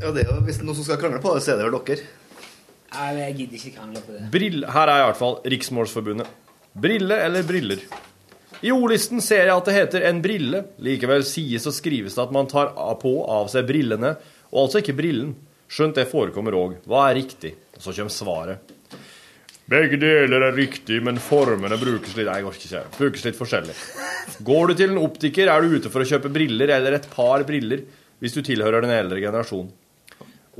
Ja, det er jo Hvis det er noen som skal krangle på det, så er det vel dere.
Nei, men jeg gidder ikke krangle på det.
Brill, her er i hvert fall Riksmålsforbundet. Brille eller briller? I ordlisten ser jeg at det heter en brille. Likevel sies og skrives det at man tar av- på av seg brillene, og altså ikke brillen. Skjønt det forekommer òg. Hva er riktig? Og så kommer svaret. Begge deler er riktig, men formene brukes litt Nei, jeg orker ikke. Brukes litt forskjellig. Går du til en optiker, er du ute for å kjøpe briller eller et par briller hvis du tilhører den eldre generasjonen.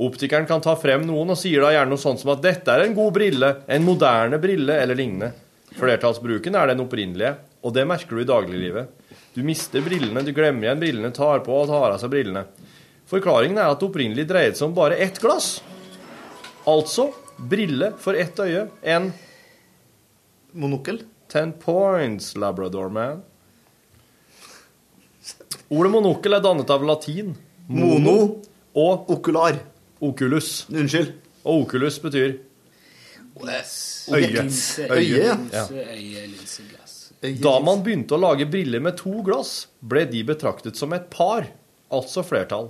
Optikeren kan ta frem noen og sier da gjerne noe sånt som at dette er en god brille, en moderne brille eller lignende. Flertallsbruken er den opprinnelige, og det merker du i dagliglivet. Du mister brillene, du glemmer igjen brillene, tar på og tar av seg brillene. Forklaringen er at det opprinnelig dreide seg om bare ett glass. Altså brille for ett øye, en
Monokkel?
Ten points, Labrador man. Ordet monokkel er dannet av latin.
Mono
og
okular.
Okulus.
Unnskyld.
Og okulus betyr Øye.
Linse,
Øye, ja.
linse, øye, linseglass.
Da man begynte å lage briller med to glass, ble de betraktet som et par, altså flertall.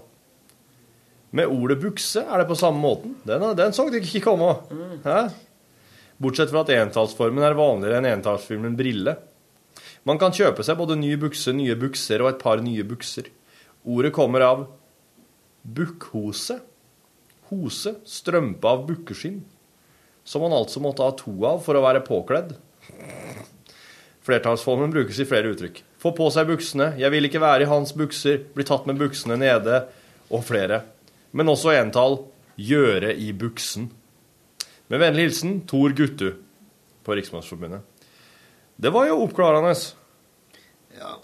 Med ordet bukse er det på samme måten. Den, den så dere ikke komme. Hæ? Bortsett fra at entallsformen er vanligere enn entallsformen brille. Man kan kjøpe seg både ny bukse, nye bukser og et par nye bukser. Ordet kommer av bukkhose. Hose, strømpe av bukkeskinn. Som man altså måtte ha to av for å være påkledd. Flertallsformen brukes i flere uttrykk. Få på seg buksene, jeg vil ikke være i hans bukser, bli tatt med buksene nede, og flere. Men også entall, gjøre i buksen. Med vennlig hilsen Tor Guttu på Riksmannsforbundet. Det var jo oppklarende.
Ja.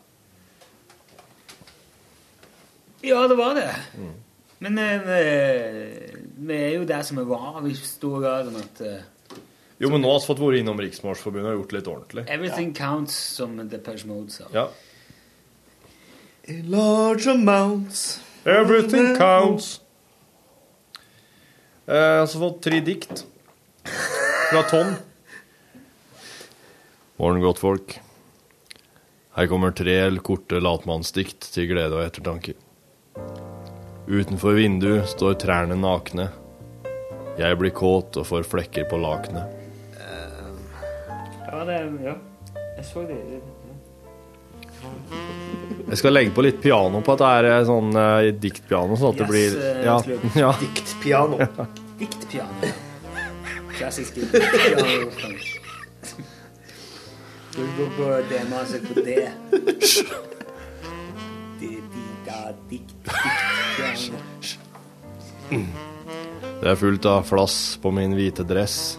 Ja, det var det.
Mm.
Men eh, vi, vi er jo der som vi var i stor grad. om at eh,
Jo, men nå har vi fått vært innom Riksmannsforbundet og gjort litt ordentlig.
Everything counts, som Depeche Mode sa.
Ja.
In large amounts.
Everything counts. Eh, Jeg har også fått tre dikt fra Tom. Morgen, godt folk. Her kommer tre korte latmannsdikt til glede og ettertanke. Utenfor vinduet står trærne nakne. Jeg blir kåt og får flekker på lakenet.
Ja, det, ja. Jeg så det.
Jeg skal legge på litt piano på at det er sånn eh, diktpiano, sånn at det
Yes,
blir
eh,
ja,
slurp.
ja.
Diktpiano.
Diktpiano. Klassisk diktpiano. Du går på det maset på det. Det- de- da, dikt, diktpiano.
Det er fullt av flass på min hvite dress.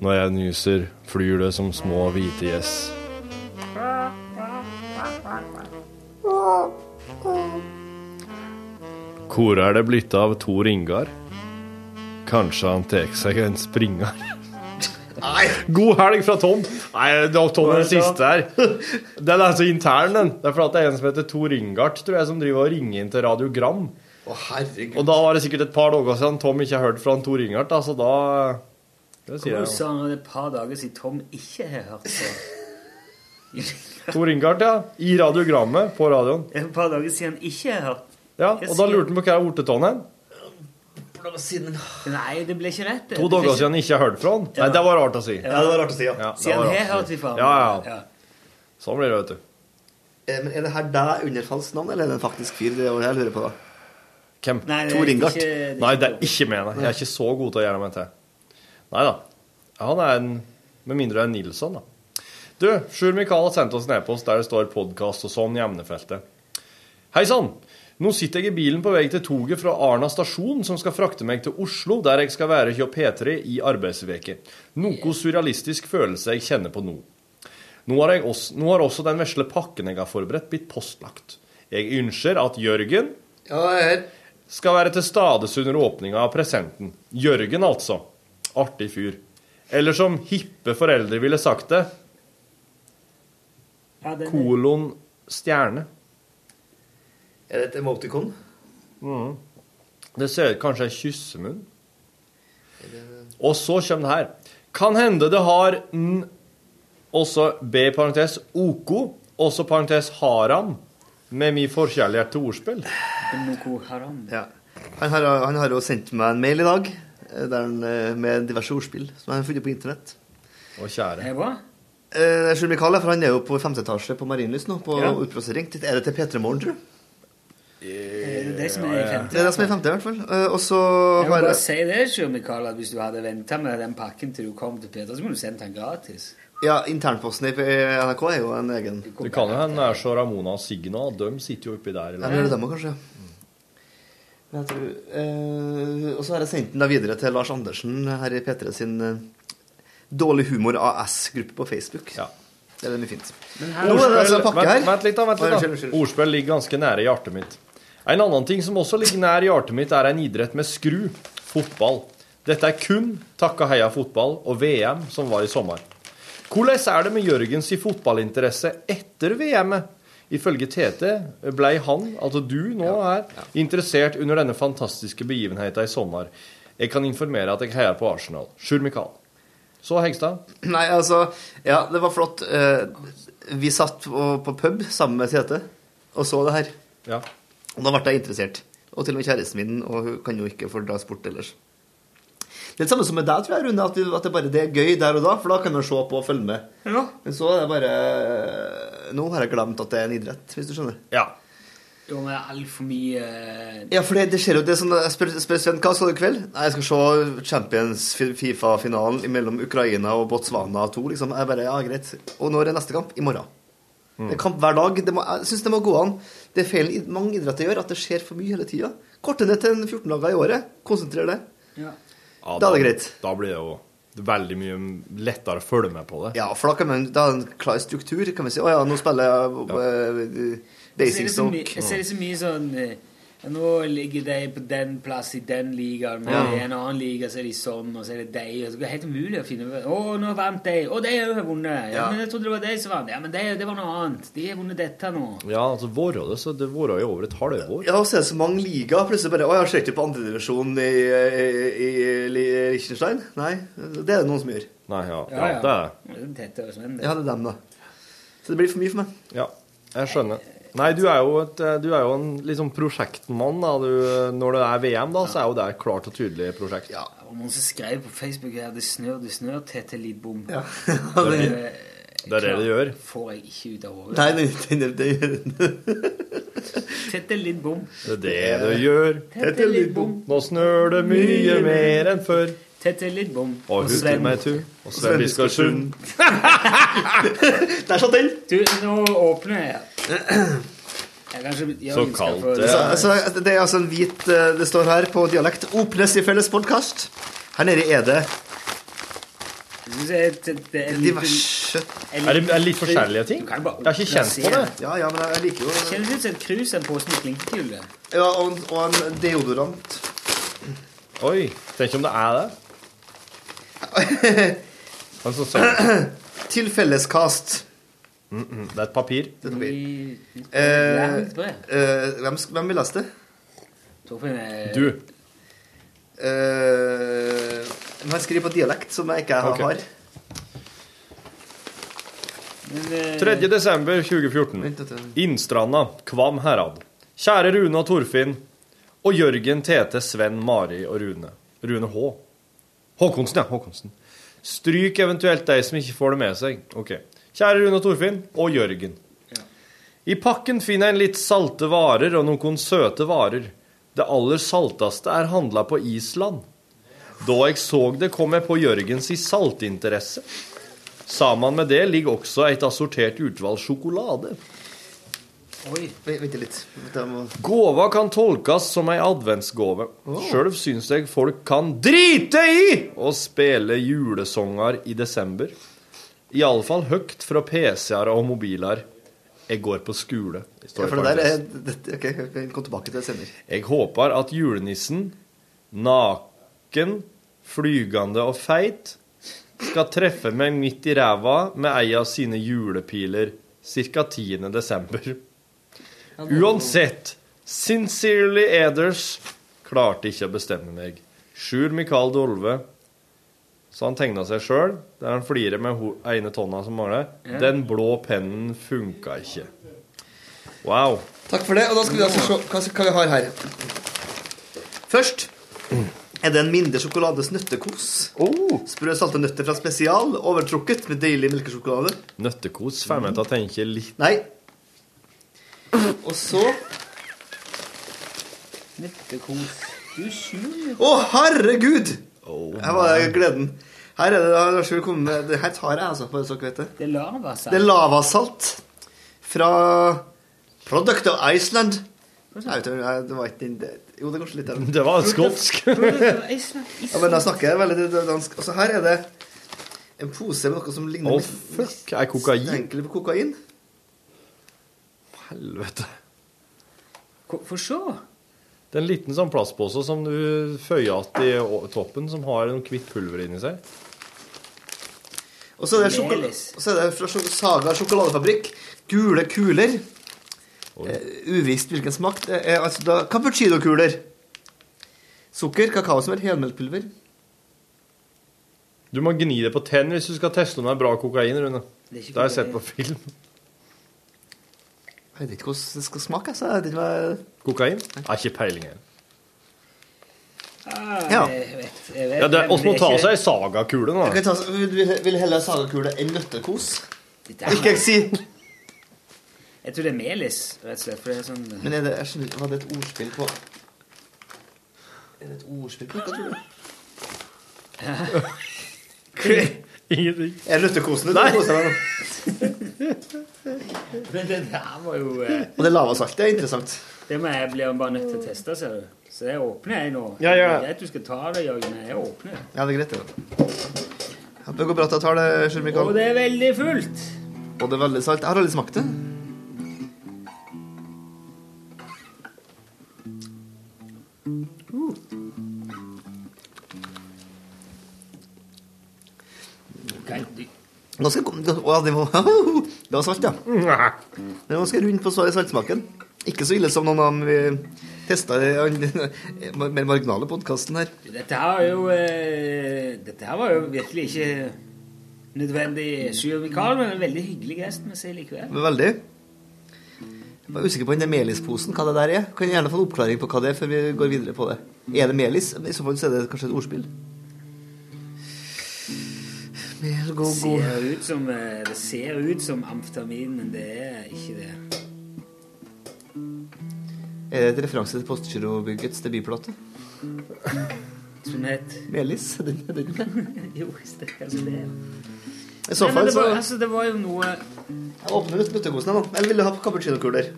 Når jeg nyser, flyr det som små hvite gjess. Hvor er det blitt av Tor Ingar? Kanskje han tar seg en springar? Nei. God helg fra Tom! Nei, det var Tom den siste her. Den er så intern, den. Det er fordi det er en som heter Tor Ingart, tror jeg, som driver og ringer inn til Radiogram.
Å, herregud.
Og da var det sikkert et par dager siden Tom ikke har hørt fra han Tor Ingart, da, så da Det sier
Hvordan
jeg jo.
sa han det et par dager siden Tom ikke har hørt på?
Tor Ingart, ja. I radiogrammet på radioen.
Et par dager siden han ikke har hørt.
Ja, og da lurte han på hva er ortetåen hen.
Nei, det ble ikke rett. det.
To
Det ble
dager
ikke-
siden han ikke har hørt fra han. Nei, det var rart å si.
Ja, det var rart å
si, ja.
det
Siden
var
han
rart
har
å
hørt
si.
ifra han.
Ja, ja. Sånn blir det, vet du.
Eh, Men er det her deg under falskt navn, eller er det en faktisk fyr? Det er det jeg lurer på, da.
Hvem?
Nei, det er Tor Ingart. ikke- det er
Nei, det er ikke meg, nei. Jeg er ikke så god til å gjøre meg til. Nei da. Han er en Med mindre det er Nilsson, da. Du, Sjur Mikael har sendt oss en e-post der det står 'podkast' og sånn i emnefeltet. Hei sann! Nå sitter jeg i bilen på vei til toget fra Arna stasjon, som skal frakte meg til Oslo, der jeg skal være hos P3 i arbeidsveke. Noe surrealistisk følelse jeg kjenner på nå. Nå har, jeg også, nå har også den vesle pakken jeg har forberedt, blitt postlagt. Jeg ønsker at Jørgen skal være til stades under åpninga av presenten. Jørgen, altså. Artig fyr. Eller som hippe foreldre ville sagt det,
Ja, den er-
kolon stjerne.
Er det et emoticon?
Mm. Det ser ut kanskje en kyssemunn. Og så kommer det her. Kan hende det har n... Også B parentes OK, også parentes haram, med min forkjærlighet til ordspill.
Boko Haram.
Ja. Han har, han har jo sendt meg en mail i dag eh, der han, eh, med diverse ordspill som han har funnet på internett.
Å, kjære.
Hva?
Eh, Sjur Mikael, for han er jo på femte etasje på Marienlyst nå, på
Ja.
utplassering. Er det til P3 Morgen, tror du?
Det er det som er i femte.
Det er det som er i femte, i hvert fall. Eh, Og så
Jeg må
har
bare si det, Sjur Mikael, at hvis du hadde venta med den pakken til du kom til Peter, så kunne du sendt den gratis.
Ja, internposten i eh, NRK er jo en egen.
Det kan jo hende det er så Ramona og Signa. De sitter jo oppi der. i
Ja,
lag.
det er det dem også, kanskje. Men jeg tror, eh, og så har jeg sendt den da videre til Lars Andersen her i P3 sin eh, Dårlig humor AS-gruppe på Facebook. Det er mye fint. Nå er det altså en
Ordspill,
pakke her.
vent, vent litt, da. Vent
Nei,
litt
unnskyld,
da.
unnskyld.
Ordspill ligger ganske nære hjertet mitt. En annen ting som også ligger nær hjertet mitt, er en idrett med skru fotball. Dette er kun takka heia fotball og VM som var i sommer. Hvordan er det med Jørgens i fotballinteresse etter VM-et? Ifølge TT blei han, altså du nå her, interessert under denne fantastiske begivenheten i sommer. Jeg kan informere at jeg heier på Arsenal. Sjur Mikael. Så Hegstad?
Nei, altså Ja, det var flott. Eh, Vi satt på, på pub sammen med Tete og så det her.
Ja.
Og da ble jeg interessert. Og til og med kjæresten min, og hun kan jo ikke fordras bort ellers. Det er det samme som med deg, tror jeg, Rune, at, vi, at det bare det er gøy der og da, for da kan man se på og følge med.
Ja.
Men så er det bare eh, Nå har jeg glemt at det er en idrett, hvis du skjønner.
Ja.
Jo, men det er altfor mye eh,
Ja, for det, det skjer jo det er sånn Jeg spør, spør Sven, hva skal du i kveld? Nei, jeg skal se Champions Fifa-finalen mellom Ukraina og Botswana 2, liksom. Jeg bare, ja, greit. Og når er neste kamp? I morgen. Det er kamp hver dag. Det må, jeg syns det må gå an. Det er feilen i- mange idretter gjør, at det skjer for mye hele tida. Korte ned til en 14 dager i året. Konsentrer det.
Ja,
Da er det greit.
Da blir det jo veldig mye lettere å følge med på det.
Ja, for da kan man da er det en klar struktur. Kan man si å ja, nå spiller jeg eh,
Jeg
Basic
ser det så mye-
Stoke.
Jeg ser det så mye sånn eh, Nå ligger de på den plass i den ligaen, og
Ja.
i en annen liga så er de sånn, og så er det de og så Det er helt umulig å finne ut Å, nå vant de! Å, de har jo vunnet! Ja,
Ja.
Men jeg trodde det var de som vant. Ja, men de, det var noe annet. De har vunnet dette nå.
Ja, altså våre, det, så det våre i over et halvår.
Ja, og så er det så mange ligaer. Plutselig bare Å, jeg ser ikke på andredivisjonen i, i, i, Li- Liechtenstein. Nei, det er det noen som gjør.
Nei, ja,
Ja,
ja,
ja.
det er det.
Tete og Sven, det.
Ja, det er dem, da. Så det blir for mye for meg.
Ja, jeg skjønner. Nei, du er jo, et, du er jo en liksom prosjektmann. Da. Du, når det er VM, da, så er jo det et klart og tydelig prosjekt.
Ja.
Og noen som skrev på Facebook her 'Det snør, det snør, Tete Lidbom'.
Ja.
det,
Det er det det gjør.
får jeg ikke ut av hodet.
Nei, det, det, det, det.
Tete Lidbom.
Det er det det gjør.
Tete Lidbom.
Nå snør det mye mer enn før.
Tete Lidbom.
Og husker meg tu. Og Sven Biskarsund.
Der satt den!
Du, nå åpner jeg. jeg kanskje, jeg
Så
ønsker
kaldt
for-
Så, så det er altså en hvit eh, Det står her på dialekt 'Åpnes i felles podkast'. Her nede er det
Jeg synes det er- det- det er
diverse
litt-
Er det- er det litt forskjellige ting?
Du kan bare
Jeg har ikke kjent på
plassere.
det.
Ja, ja, men jeg liker jo
Kjennes ut som et krus en pose med klinkekuler.
Ja, og, en- og en deodorant.
Oi. Tenk om det er det. Altså, så,
Til felleskast.
mm -mm. Det er et papir.
Det er papir.
Ja, det tror
Eh, eh, hvem, sk- hvem vil lese det?
Torfinn er
Du.
Eh, man skriver på dialekt, som jeg ikke
Ok.
har.
Men, eh,
3. desember 2014. Innstranda, Kvam Herad. Kjære Rune og Torfinn. Og Jørgen, Tete, Sven, Mari og Rune. Rune H. Håkonsen, ja. Håkonsen. Stryk eventuelt de som ikke får det med seg. Ok. Kjære Rune og Torfinn. Og Jørgen. I pakken finner jeg en litt salte varer og noen søte varer. Det aller salteste er handla på Island. Da jeg så det, kom jeg på Jørgens i saltinteresse. Sammen med det ligger også et assortert utvalg sjokolade.
Oi.
Vent, vent litt. Vent, jeg må...
Gåva kan tolkes som ei adventsgave. Sjøl syns jeg folk kan drite i å spille julesanger i desember. Iallfall høyt fra PC-er og mobiler. Jeg går på skole. står
Ja,
i
for det der er
parentes.
det, OK, jeg kan komme tilbake til det senere.
Jeg håper at julenissen, naken, flygende og feit, skal treffe meg midt i ræva med ei av sine julepiler ca. 10. desember. Uansett, sincerely Eders klarte ikke å bestemme meg. Sjur Mikael Dolve. Så han tegna seg sjøl, der han flirer med ho- ene tonna som mangler.
Ja.
Den blå pennen funka ikke. Wow.
Takk for det. Og da skal vi altså se hva, hva vi har her. Først er det en mindre sjokolades nøttekos. Sprø salte nøtter fra Spesial, overtrukket med deilig melkesjokolade.
Nøttekos får meg til å tenke litt
Nei. Og så
Nøttekos. Du skjuler
Å, herregud! Her var det gleden. Her er det da, Lars vil komme med Det her tar jeg, altså, bare så dere vet det.
Det er lavasalt.
Det er lavasalt fra Product of Iceland. Jeg vet ikke, jeg- det var ikke den det- Jo, det er kanskje litt der.
Det var skotsk.
Ja, men da snakker jeg veldig dansk. Og så her er det en pose med noe som ligner
Å, fuck, er kokain?
Enkelt på kokain.
Helvete.
Få se.
Det er en liten sånn plastpose som du føyer att i å- toppen, som har noe hvitt pulver inni seg.
Og så er det, sjokol og så er det fra sjok- Saga sjokoladefabrikk. Gule kuler. Eh, uvisst hvilken smak. Det er altså da cappuccinokuler. Sukker, kakao som er helmelkpulver.
Du må gni det på tenn hvis du skal teste om det er bra kokain, Rune.
Det er ikke
Det har jeg sett
kokain.
på film.
Jeg vet ikke hvordan det skal smake. Altså. Jeg vet ikke hva...
Kokain? Jeg har ikke peiling heller.
Ah,
Ja.
Jeg vet, jeg vet,
Ja, det er-
men
oss må
det er
ta
ikke-
oss ei sagakule nå.
Jeg kan ta, vil, vil- vil heller ha sagakule enn nøttekos. Ikke jeg si.
Jeg tror det er melis, rett og slett. For det er sånn
Men er det, jeg skjønner, ikke, var det et ordspill på Er det et ordspill på noe, tror du?
Ingenting.
Er nøttekosen du
Nei.
koser deg nå?
Men det der var jo eh,
Og det lavasalt, det er interessant.
Det må jeg bli bare nødt til å teste, ser du. Så jeg åpner jeg nå.
Ja, ja.
Jeg vet du skal ta det, Jørgen. Jeg åpner.
Ja, det er greit, det. Ja, Det går bra at jeg tar det, Sjur Mikael.
Og det er veldig fullt.
Og det er veldig salt. Jeg har aldri smakt det. Ganske, kom- å, ja, det, var, det var salt, ja.
Mm,
Det var ganske rundt på sal- saltsmaken. Ikke så ille som noen av dem vi testa i den mer marginale podkasten her.
Dette her er jo eh, Dette her var jo virkelig ikke nødvendig Sjur Mikael, men en veldig hyggelig gjest med seg likevel.
Men veldig. Jeg var usikker på den der melisposen, hva det der er. Kan jeg gjerne få en oppklaring på hva det er, før vi går videre på det. Er det melis? I så fall så er det kanskje et ordspill. Mer
Det
gå, gå.
ser ut som, eh, det ser ut som amfetamin, men det er ikke det.
Er det et referanse til Postgirobyggets debutplate?
Som het
Melis? Den, den.
Jo, det er kanskje det.
I så
Nei, men
fall
det var,
så-
altså, det var jo noe
Jeg åpner ut nøttekosen her nå. Eller vil du ha cappuccinokuler?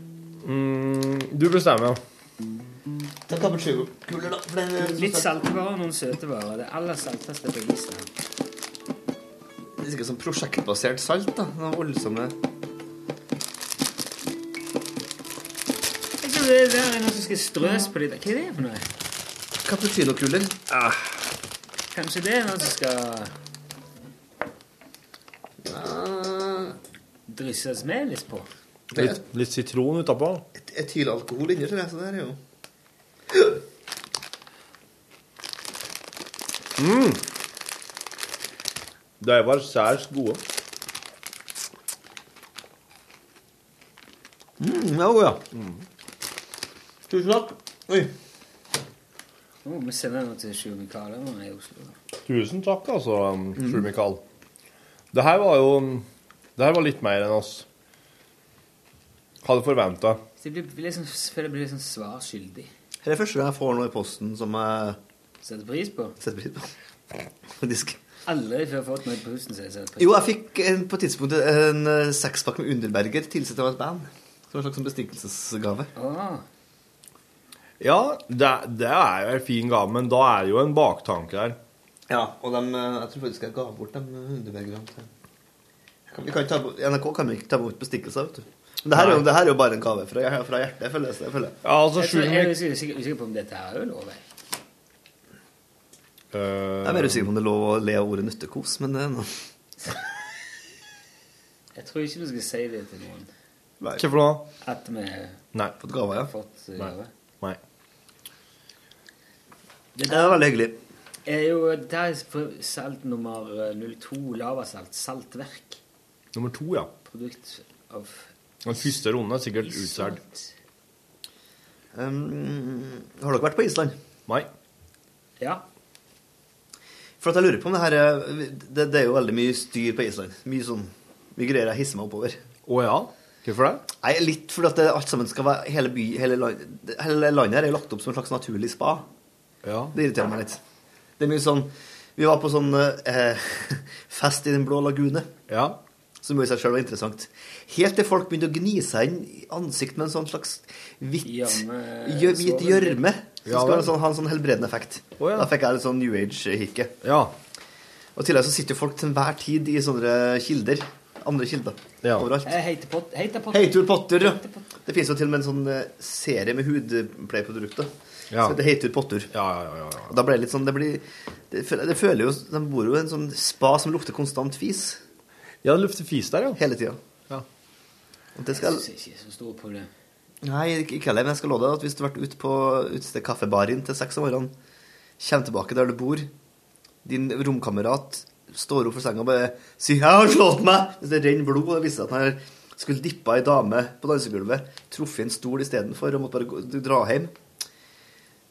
Mm, du bestemmer, ja.
Ta cappuccinokuler, da. For den,
Litt saltvarer og noen søte varer. Det aller salteste på isen.
Det er sikkert sånn prosjektbasert salt, da. Noen voldsomme
Jeg tror det der er noe som skal strøs på de der. Hva er det for noe?
cappuccinokuler.
Kanskje det er noe som skal
Ah,
Drysses melis på?
Litt, litt sitron utapå.
Etylalkohol inni, tror jeg. Så det her er jo
Mm. De var særs gode.
mm, Ja, god, ja. Tusen takk. Mm. Oi.
Nå må vi sende noe til Sjur Mikael når han er i Oslo.
Tusen takk, altså, Sjur Mikael. Det her var jo um, Det her var litt mer enn oss hadde forventa.
Så jeg blir- blir liksom, føler jeg blir liksom svar skyldig.
Her er første gang jeg får noe i posten som jeg
Setter pris på?
Setter pris på. Faktisk.
Aldri før fått noe i posten som jeg setter pris
Jo, jeg fikk en, på tidspunktet en eh, sekspakk med Underberger tilsett av et band. Som en slags sånn bestikkelsesgave.
Ah.
Ja, det, det er jo en fin gave, men da er det jo en baktanke der.
Ja, og dem, eh, jeg tror faktisk jeg ga bort de Underbergerne til Jeg kan- vi kan ikke ta, bort- NRK kan vi ikke ta bort bestikkelser, vet du. Men Det her, er jo,
Nei.
det her er jo bare en gave fra, hjer- fra hjertet, føler jeg. Føler jeg.
altså,
jeg, tror, jeg er usikker- usikker usikker på om dette her er lov. jeg.
Eh,
Jeg er mer usikker på om det er lov å le av ordet nøttekos, men eh, det er noe.
Jeg tror ikke du skal si det til noen.
Hvorfor da?
At vi
Nei.
Fått gave, ja.
Fått eh, gave.
Nei.
Det er veldig hyggelig.
Er jo, det er for salt nummer eh, 02, lavasalt, saltverk.
Nummer to, ja.
Produkt av
Den første runden er sikkert utsolgt.
Um, har dere vært på Island?
Nei.
Ja.
For at jeg lurer på om det her er Det, det er jo veldig mye styr på Island. Mye sånn mye greier jeg hisser meg oppover.
Å ja? Hvorfor det?
Nei, Litt fordi at det alt sammen skal være Hele, by, hele, land, hele landet her er jo lagt opp som en slags naturlig spa.
Ja.
Det irriterer meg litt. Det er mye sånn Vi var på sånn eh, fest i Den blå lagune. Som jo i seg sjøl var interessant. Helt til folk begynte å gni seg inn i ansikt med en sånn slags hvitt
Gjørme-
gjør- hvit gjørme. Som
Ja,
skal
vel.
ha en sånn, ha en sånn helbredende effekt. Da fikk jeg litt sånn New Age-hikke. Og i tillegg så sitter jo folk til enhver tid i sånne kilder. Andre kilder. Overalt.
Eh, Heiter pott- heiter pott-
Heitor Potter. ja. Det finnes jo til og med en sånn eh, serie med hudpleieprodukter.
Ja.
Som heter Heitor Potter. Og Da ble det litt sånn Det blir det, føler- det føler jo De bor jo i en sånn spa som lukter konstant fis.
Ja, det lukter fis der, ja.
Hele tida.
Ja.
Og det skal
Jeg synes ikke det er så stort problem.
Nei, ikke ikke heller, men jeg skal love deg at hvis du har vært ute på ute til kaffebaren til seks om morgenen, kommer tilbake der du bor, din romkamerat står opp fra senga og bare sier 'Jeg har slått meg!' Hvis det renner blod, og det viser seg at han har skulle dippa ei dame på dansegulvet, truffet en stol istedenfor og måtte bare gå, dra hjem.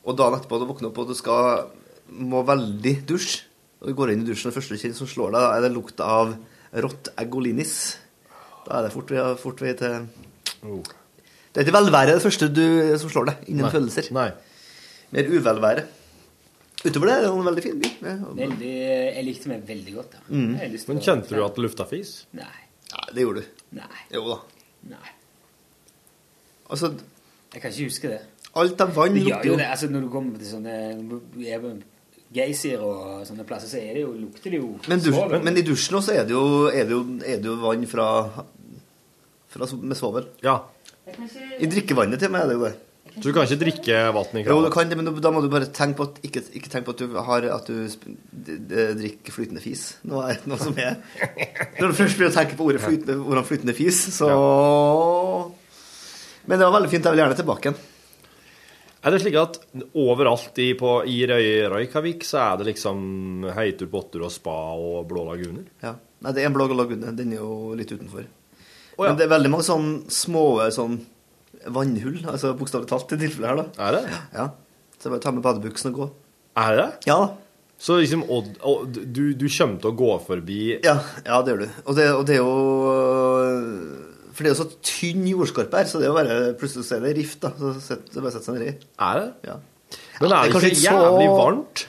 Og dagen etterpå du våkner opp og du skal må veldig dusje, og du går inn i dusjen, og det første du kjenner som slår deg, da er det lukta av rått eggolinis. Da er det fort, vei- fort vei til Det er ikke velvære det første du, som slår deg innen
Oh. Nei.
følelser. Mer uvelvære. Utover det er det en veldig fin by. Ja.
Veldig, jeg likte meg veldig godt. da.
Mm.
Jeg har lyst til
Men
å-
kjente du at lufta fis?
Nei.
Nei, det gjorde du.
Nei.
Jo da.
Nei.
Altså,
Jeg kan ikke huske det.
Alt av vann
Det gjør
lukter
jo
jo
det. Altså, når du kommer til sånne Geysir og sånne plasser, så er det jo, lukter det jo
Men, dusj,
svovel.
men i dusjen også er det jo, er det jo, er det jo vann fra, fra, med svovel.
Ja.
I drikkevannet til og med er det jo det.
Så du kan ikke drikke vann i
Jo, du
kranen?
kan det, men da må du bare tenke på at, ikke, ikke tenk på at du, har, at du sp- d- d- drikker flytende fis. Nå er det noe som er Når du først begynner å tenke på ordet flytende, hvordan flytende fis, så Men det var veldig fint. Jeg vil gjerne tilbake igjen.
Er det slik at overalt i, på, i Røy, Røykavik så er det liksom Heitur, Båttur og Spa og Blå laguner?
Ja. Nei, det er en blå lagune. Den er jo litt utenfor.
Å, ja.
Men det er veldig mange sånn små sånn vannhull, altså bokstavelig talt, i tilfellet her, da.
Er det?
Ja. Så bare ta med badebuksen og gå.
Er det?
Ja.
Så liksom Odd, og du, du kommer til å gå forbi
Ja, ja det gjør du. Og det, og det er jo øh, For det er jo så tynn jordskorpe her, så det er jo bare plutselig så er det rift, da. Så sett- det er bare å sette seg nedi.
Er det?
Ja.
Men
Ja,
er
det
det
er kanskje
ikke
ikke så-
jævlig varmt?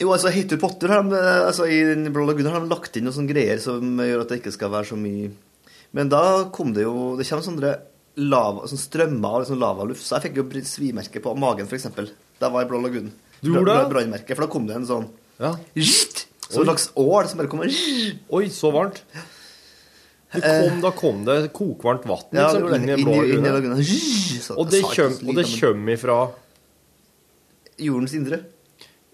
Jo, altså Heitur Potter har de, altså, i den Blå Laguna har de lagt inn noen sånne greier som gjør at det ikke skal være så mye Men da kom det jo Det kommer sånne lava, sånne strømmer av liksom lavaluft. Så jeg fikk jo br- svimerke på magen, f.eks. Da jeg var i Blå Lagunen.
Du gjorde det?
Brannmerke. For da kom det en sånn
Ja.
Som en slags ål som bare kommer
Oi, så varmt. Det kom, da kom det kokvarmt vann
Eh. Ja, det
liksom,
gjorde det.
inn i
Inn
Blå
i- inn i
lagune.
laguna. Så-
Og det
sa ikke
kjøm-
så lite,
og det
men-
kommer ifra
Jordens indre.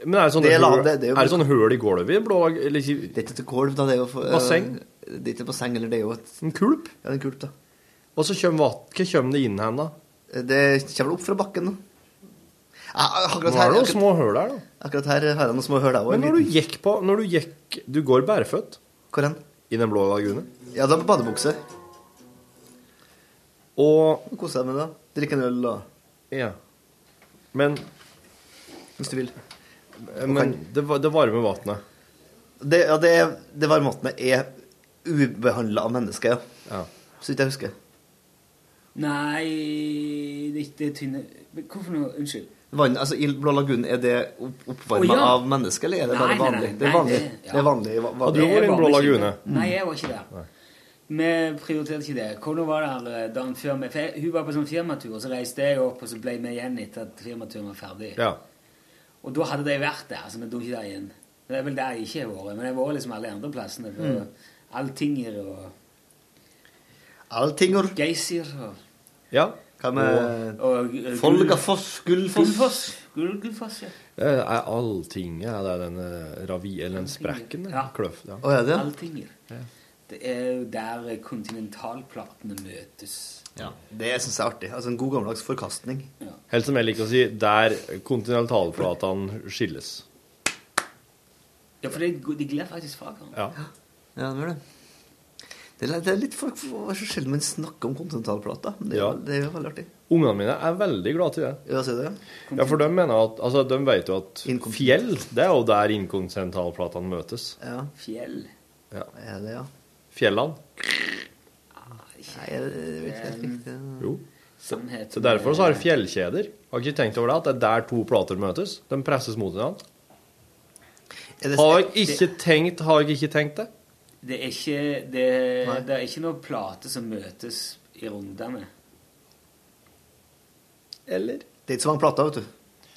Men er det sånne
Det er la-
høl,
det- det er jo-
er det sånn høl i gulvet i Blå lagunen?
Det er ikke et gulv, da. Det er jo for-
Basseng?
eh, Det er ikke basseng, eller det er jo et
En kulp?
Ja, det er en kulp, da.
Og så kommer vann Hva kommer det inn hen, da?
Det kommer vel opp fra bakken, da. Ja, akkurat
Nå er det
her-
noen små høl her, da.
Akkurat her har jeg noen små høl,
Men
jeg
når du gikk på Når du gikk Du går bæreføtt?
Hvor hen?
I den blå lagunen?
Ja, da med badebukse.
Og
Kose deg med det. Drikke en øl, da.
Ja. Men
Hvis du vil.
Men det, var- det varme vannet.
Det, ja, det, det varme vannet er ubehandla av mennesker, ja. Så vidt jeg husker.
Nei det, er ikke- det er tynne Men Hvorfor noe? Unnskyld.
Vann, altså I Blå lagunen, er det opp, oppvarma
Å, ja.
av mennesker, eller er det
Nei,
bare
nei, nei,
vanlig?
nei,
det er vanlig.
det- ja.
Det er vanlig, va- vanlig.
Har du vært i Blå lagune?
Nei, jeg var ikke der. Vi prioriterte ikke det. Kona var der eh, dagen før meg. For jeg- Hun var på sånn firmatur, og så reiste jeg opp, og så ble vi igjen etter at firmaturen var ferdig.
Ja.
Og da hadde de vært der, så vi dro ikke der igjen. Men Det er vel der jeg ikke har vært. Men jeg har vært liksom alle andre plassene. på
Mm.
Alltinger og
Alltinger.
Geysir og
Ja.
Hva med
Og- og-
Folgafoss, Gullfoss?
Gullfoss. Gull- Gullfoss, ja.
Er alltinget er det den eh, ravi... Eller den sprekken? Ja. Kløft, ja.
Å, er det?
Alltinger. Det er jo der kontinentalplatene møtes.
Det syns jeg er artig. Altså En god gammeldags forkastning.
Helt som jeg liker å si, der kontinentalplatene skilles.
Ja, for det, de glir faktisk fra hverandre.
Ja.
Ja, det gjør det. Det er, det er litt for, for så sjelden man snakker om kontinentalplata. men Det, er
Ja.
jo- det er jo veldig artig.
Ungene mine er veldig glad til det.
Ja, sier du det?
Ja, for de mener at Altså, de vet jo at fjell, det er jo der inkontinentalplatene møtes.
Ja.
Fjell.
Ja.
Er det, ja.
Fjellene.
Nei, jeg, jeg vet ikke helt riktig.
Jo.
Sannhet.
Så derfor så har fjellkjeder Har ikke tenkt over det, at det er der to plater møtes. De presses mot hverandre.
det-
Har jeg ikke tenkt Har jeg ikke tenkt det?
Det er ikke, det, det er ikke noe plate som møtes i rundene.
Eller?
Det er ikke så mange plater, vet du.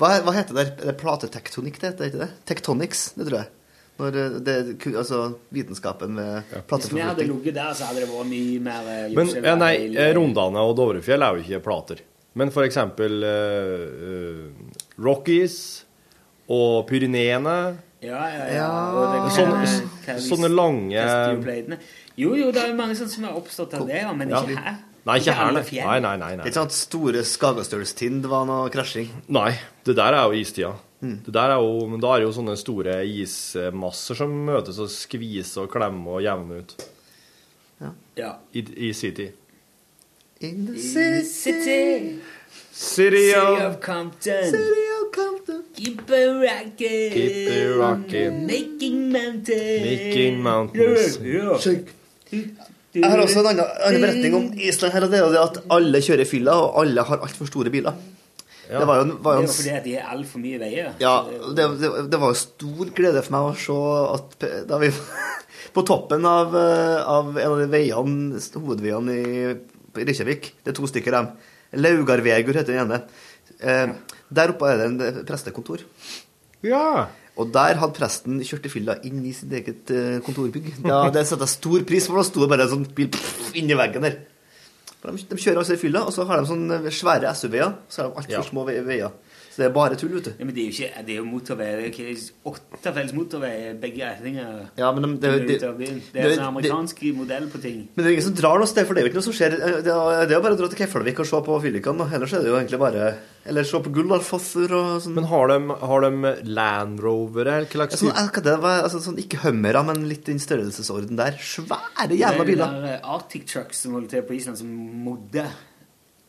Hva, hva heter det? Er det platetektonikk det heter, ikke det? Tektonics, det tror jeg. Når eh, det, er ku- altså vitenskapen med
Hvis vi hadde
plateforflytning.
ligget der, så hadde det vært mye mer eh,
Men
Josef
ja, nei,
Weill.
eh, Rondane og Dovrefjell er jo ikke plater. Men for eksempel eh, eh, Rockies og Pyreneene
Ja, ja, ja. Og det kan-
Sånne,
kan vi-
sånne lange
Castillo-platene. Jo, jo, det er jo mange sånne som er oppstått av det, ja, men
Ja.
ikke her.
Nei, ikke her,
alle
nei.
fjell.
Nei, nei, nei, nei.
Ikke sant? Store Skagastølstind var noe krasjing.
Nei, det der er jo istida.
Mm.
Det der er jo, men da er det jo sånne store ismasser som møtes og skviser og klemmer og jevner ut.
Ja.
I, i city.
In the
City, city
City of
of Compton.
City of Compton.
Keep a rockin'.
Keep it rocking.
Making mountains.
Making mountains.
Shake. Jeg
Mm.
har også en annen, annen beretning om Island her, og det er jo det at alle kjører fylla, og alle har altfor store biler. Det var jo en, var jo en
Det er fordi at de er altfor mye veier.
Ja, det, det, det var jo stor glede for meg å se at p- da vi På toppen av, eh, av en av de veiene, hovedveiene i i Reykjavik, det er to stykker dem. Laugarvegur heter den ene. Eh, der oppe er det en eh, prestekontor.
Ja.
Og der hadde presten kjørt i fylla inn i sitt eget eh, kontorbygg. Ja, det setter jeg stor pris på, for da sto det bare en sånn bil pff, inni veggen der. For De, de kjører altså i fylla, og så har de sånne svære SUV-er, og så har de altfor
Ja.
små ve- veier. Så det er bare tull, vet du.
Ja, men det er jo ikke Det er jo motorveier. Det er ikke- åtte felles motorveier i begge retninger.
Ja, men de- det-
Ut av byen. det er
det-
en amerikansk modell på ting.
Men det er ingen som drar noe sted, for det er jo ikke noe som skjer. Eh, Det er det er jo bare å dra til Keflavik og se på fyllikene. da. Ellers er det jo egentlig bare Eller se på Gulldarfossur og sånn.
Men har de, har de Land Rover eller hva slags
Sånn, eh, hva det var, altså, sånn, ikke Hummera, men litt i den størrelsesorden der. Svære
Det
jævla
er
biler.
Det der eh, Arctic Trucks som holder til på Island, som modder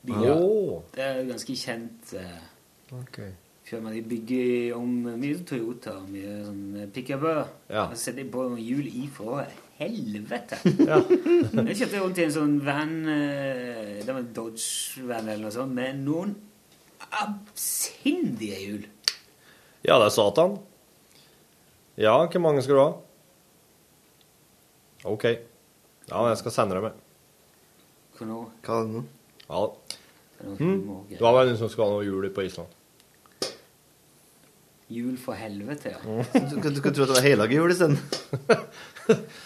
biler.
Åh.
Det er jo ganske kjent. eh,
Ok.
firma. De bygger om mye Toyota og mye sånn pickuper.
Ja.
Og så setter de på noen hjul ifra. Helvete!
Ja.
jeg kjøpte rundt i en sånn van, eh, det var en Dodge-van eller noe sånt, med noen absindige hjul.
Ja, det er Satan. Ja, hvor mange skal du ha? OK. Ja, men jeg skal sende deg med.
Hva nå?
Hva er det nå?
Ja. Hm? Det var vel en som skulle ha noe jul på Island.
Hjul for helvete, ja.
Mm.
Du, du, skulle tro at det var heilagjul isteden.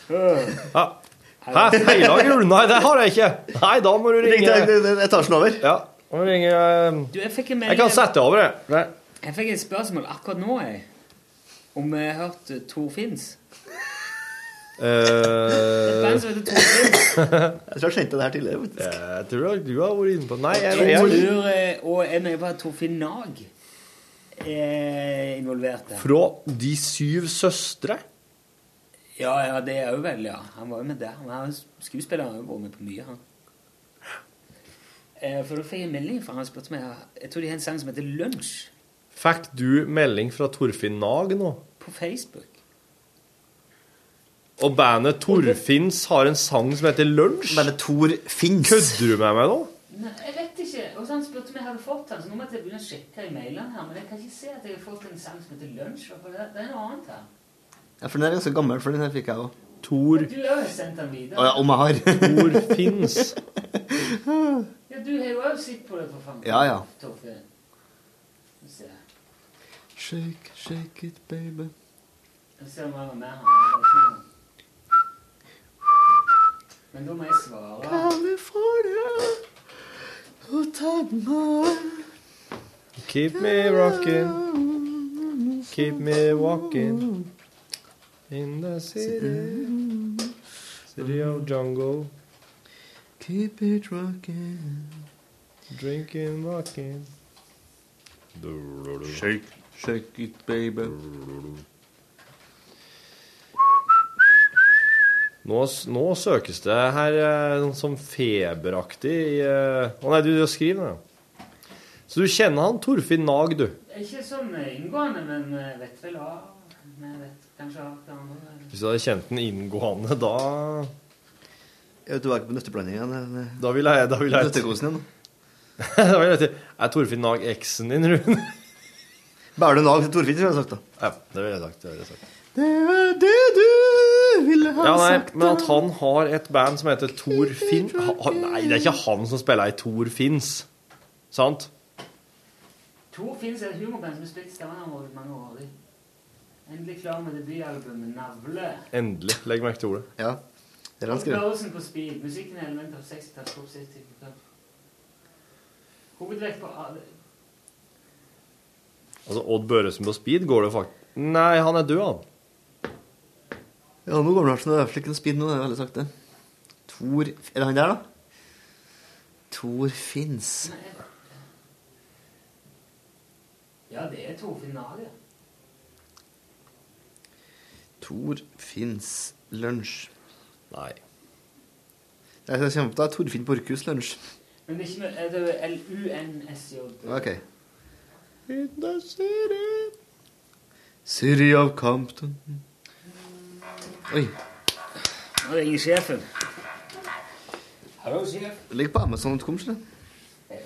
Ja. Hæ? Feilag jul? Nei, det har jeg ikke! Nei, da må du ringe
Ring etasjen over.
Ja, da må du ringe eh,
Du, jeg fikk en
Jeg kan
melding
sette over, jeg. Nei.
Jeg fikk et spørsmål akkurat nå, jeg. Om jeg har hørt eh, Tor Fins. Et
Eh,
band som heter Tor Fins.
Jeg tror jeg skjønte det her tidligere. vet du.
Jeg tror nok du har vært inne på Nei, jeg,
Jeg
jeg,
tror, eh, og jeg mener bare at Torfinn Nag eh, er involvert der.
Fra De syv søstre?
Ja, ja, det er jo vel, ja. Han var jo med der. Han var skuespiller, han har jo vært med på mye, han. Eh, For da fikk jeg en melding fra han og spurte meg Jeg tror de har en sang som heter Lunsj,
Fikk du melding fra Torfinn Nag nå?
på Facebook.
Og bandet Torfinns har en sang som heter Lunsj?
Bandet Torfinns?
Kødder du med meg nå?
Nei, jeg vet ikke. Og så han spurte om jeg hadde fått den, så nå måtte jeg begynne å sjekke i mailene her. Men jeg kan ikke se at jeg har fått en sang som heter Lunsj. for Det det er noe annet her.
Ja, for den er ganske gammel, for den her fikk jeg òg.
Tor
Du har jo sendt den videre.
ja, Om jeg har.
Torfinns.
Ja, du har jo òg sett på det, for faen.
Ja, ja.
Torfinn. Skal vi se.
Shake, shake it, baby.
Jeg ser om han var med han. Men da må jeg svare.
California. Oh, take my
Keep me rocking. Keep me walking. In the city. City of jungle.
Keep it rocking.
Drinking, walking.
Shake, shake it, baby.
Nå, s- nå søkes det her eh, noe sånn feberaktig i eh, Å nei, du, du skriver det. Så du kjenner han Torfinn Nag, du.
Ikke sånn inngående, men eh, vet vel hva. Men jeg vet kanskje alt det andre.
Hvis du hadde kjent den inngående, da
Jeg vet du var ikke på nøtteblandingen. eller?
Da ville jeg Da ville jeg
Nøttekosen igjen.
Da ville jeg til Er Torfinn Nag eksen din, Rune?
Bærer du nag til Torfinn, tror jeg jeg har sagt da.
Ja, det ville jeg sagt. Det ville jeg sagt.
Det er det du ville ha
Ja, nei,
sagt.
men at han har et band som heter Torfinn ha, ha, Nei, det er ikke han som spiller i Torfinns. Sant?
Tor Finns er et humorband som har spilt i Stavanger-området i mange år. Endelig klar med debutalbumet 'Navle'.
Endelig. Legg merke til ordet.
Ja. Det er han skrev.
Opplevelsen på speed. Musikken er element av 60-talls popsitikk. Hovedvekt på alle
Altså, Odd Børresen på speed går det faktisk Nei, han er død, han.
Ja, nå går det snart, det er slik en speed nå, det er veldig sakte. Tor Er det han der, da? Tor Fins.
Ja,
Ja, det er Torfinn Nage.
Torfinns lunsj. Nei. Det som kommer opp da, er Torfinn Borchhus lunsj.
Men det er ikke med er det L-U-N-S-J.
Ok.
In the city.
City of Compton. Oi.
Nå ringer sjefen. Hallo, sjef.
Det ligger på Amazon.com, skjønner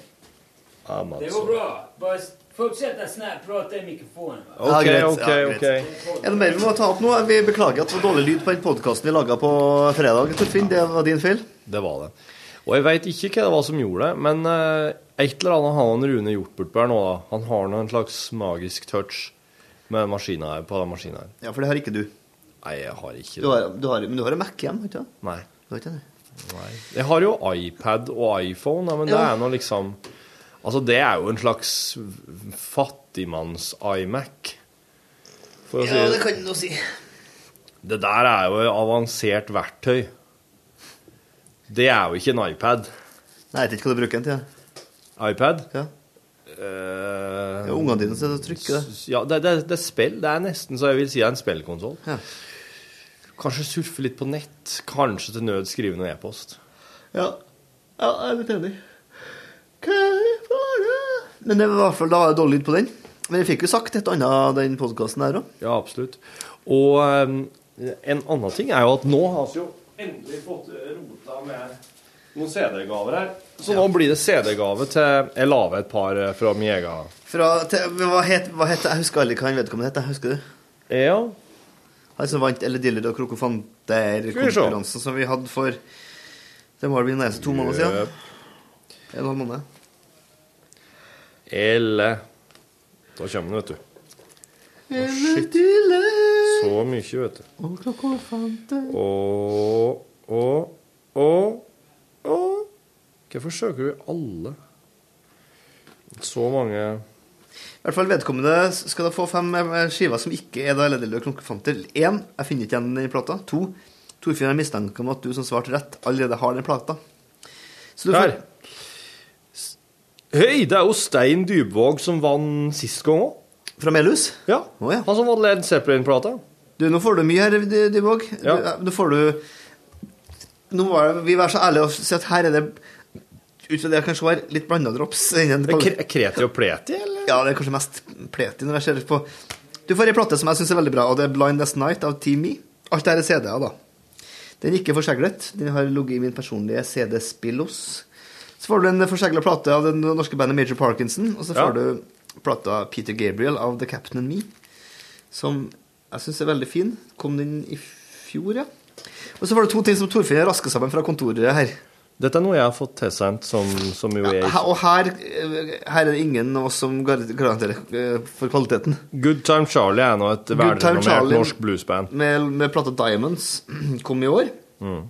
Det går bra. Bare s- fortsett å snart prate i mikrofonen.
Ja, greit. Ja, greit. Er det mer vi må ta opp nå? Vi beklager at det var dårlig lyd på den podkasten vi laga på fredag. Torfinn, det var din feil.
Det var det. Og jeg veit ikke hva det var som gjorde det, men eh, et eller annet har han Rune gjort bortpå her nå, da. Han har nå en slags magisk touch med maskina her, på den maskina her.
Ja, for det har ikke du.
Nei, jeg har ikke
Du
det.
har, du har, men du har en Mac hjem, ikke sant?
Nei.
Du har ikke det?
Nei. Jeg har jo iPad og iPhone, da, men det
Ja.
er nå liksom Altså, det er jo en slags fattigmanns-iMac. For å si det
kan du nå si.
Det der er jo et avansert verktøy. Det er jo ikke en iPad.
Nei, jeg vet ikke hva du bruker den til.
iPad?
Ja.
Uh,
Ja, ungene dine sitter og trykker det.
Ja, det, det, det er spill. Det er nesten så jeg vil si det er en spillkonsoll. Kanskje surfe litt på nett. Kanskje til nød skrive noe e-post.
Ja. ja, jeg er litt enig. Hva er det? Men det var i hvert fall da var det dårlig lyd på den. Men jeg fikk jo sagt et annet den podkasten der òg.
Ja, absolutt. Og eh, en annen ting er jo at nå har vi jo endelig fått rota med noen CD-gaver her. Så nå blir det CD-gave til Jeg lager et par eh, fra min egen
Fra til, men Hva het hva het- Jeg husker aldri hva han vedkommende het. jeg Husker du?
Ja.
Han som vant Elle Diller og Krokofanter-konkurransen som vi hadde for Det må vel bli nesten to måneder siden.
Jøp.
En og en halv måned.
Eller Da kommer den, vet du.
Elle Diller
Så mye, vet du.
og Krokofanter
Og Og Og Og Hvorfor søker vi alle? Så mange
I hvert fall vedkommende skal da få fem eh, skiver som ikke er da Elle Diller og Krokofanter. Én, jeg finner ikke igjen den plata. To, Torfinn har mistanke om at du som svarte rett, allerede har den plata. Så du får
Der! S- Hei, det er jo Stein Dybvåg som vant sist gang òg.
Fra Melhus?
Ja. Han som vant Led Zeppelin-plata.
Du, nå får du mye her, Dy- Dybvåg.
Ja.
Du, eh, Nå får du Nå må jeg- vi være så ærlige og si at her er det ut fra det kanskje var litt blanda drops. innen
Det er
kvali-
kre- Kreti og Pleti, eller?
Ja, det er kanskje mest pleti når jeg ser på Du får ei plate som jeg syns er veldig bra, og det er 'Blind As Night' av Team Me. Alt det her er CD-er, da. Den er ikke forseglet. Den har ligget i min personlige CD-spillos. Så får du en forsegla plate av det norske bandet Major Parkinson, og så
Ja.
får du plata Peter Gabriel av The Captain and Me, som jeg syns er veldig fin. Kom den i fjor, ja. Og så får du to ting som Torfinn rasker sammen fra kontoret her.
Dette er noe jeg har fått tilsendt, som, som jo er
Her- Og her, eh, her er det ingen av oss som gar- garanterer eh, for kvaliteten.
Good Time Charlie er nå et
Good Time
velrenommert
Charlie.
norsk bluesband.
Med, med plata Diamonds kom i år.
Mm.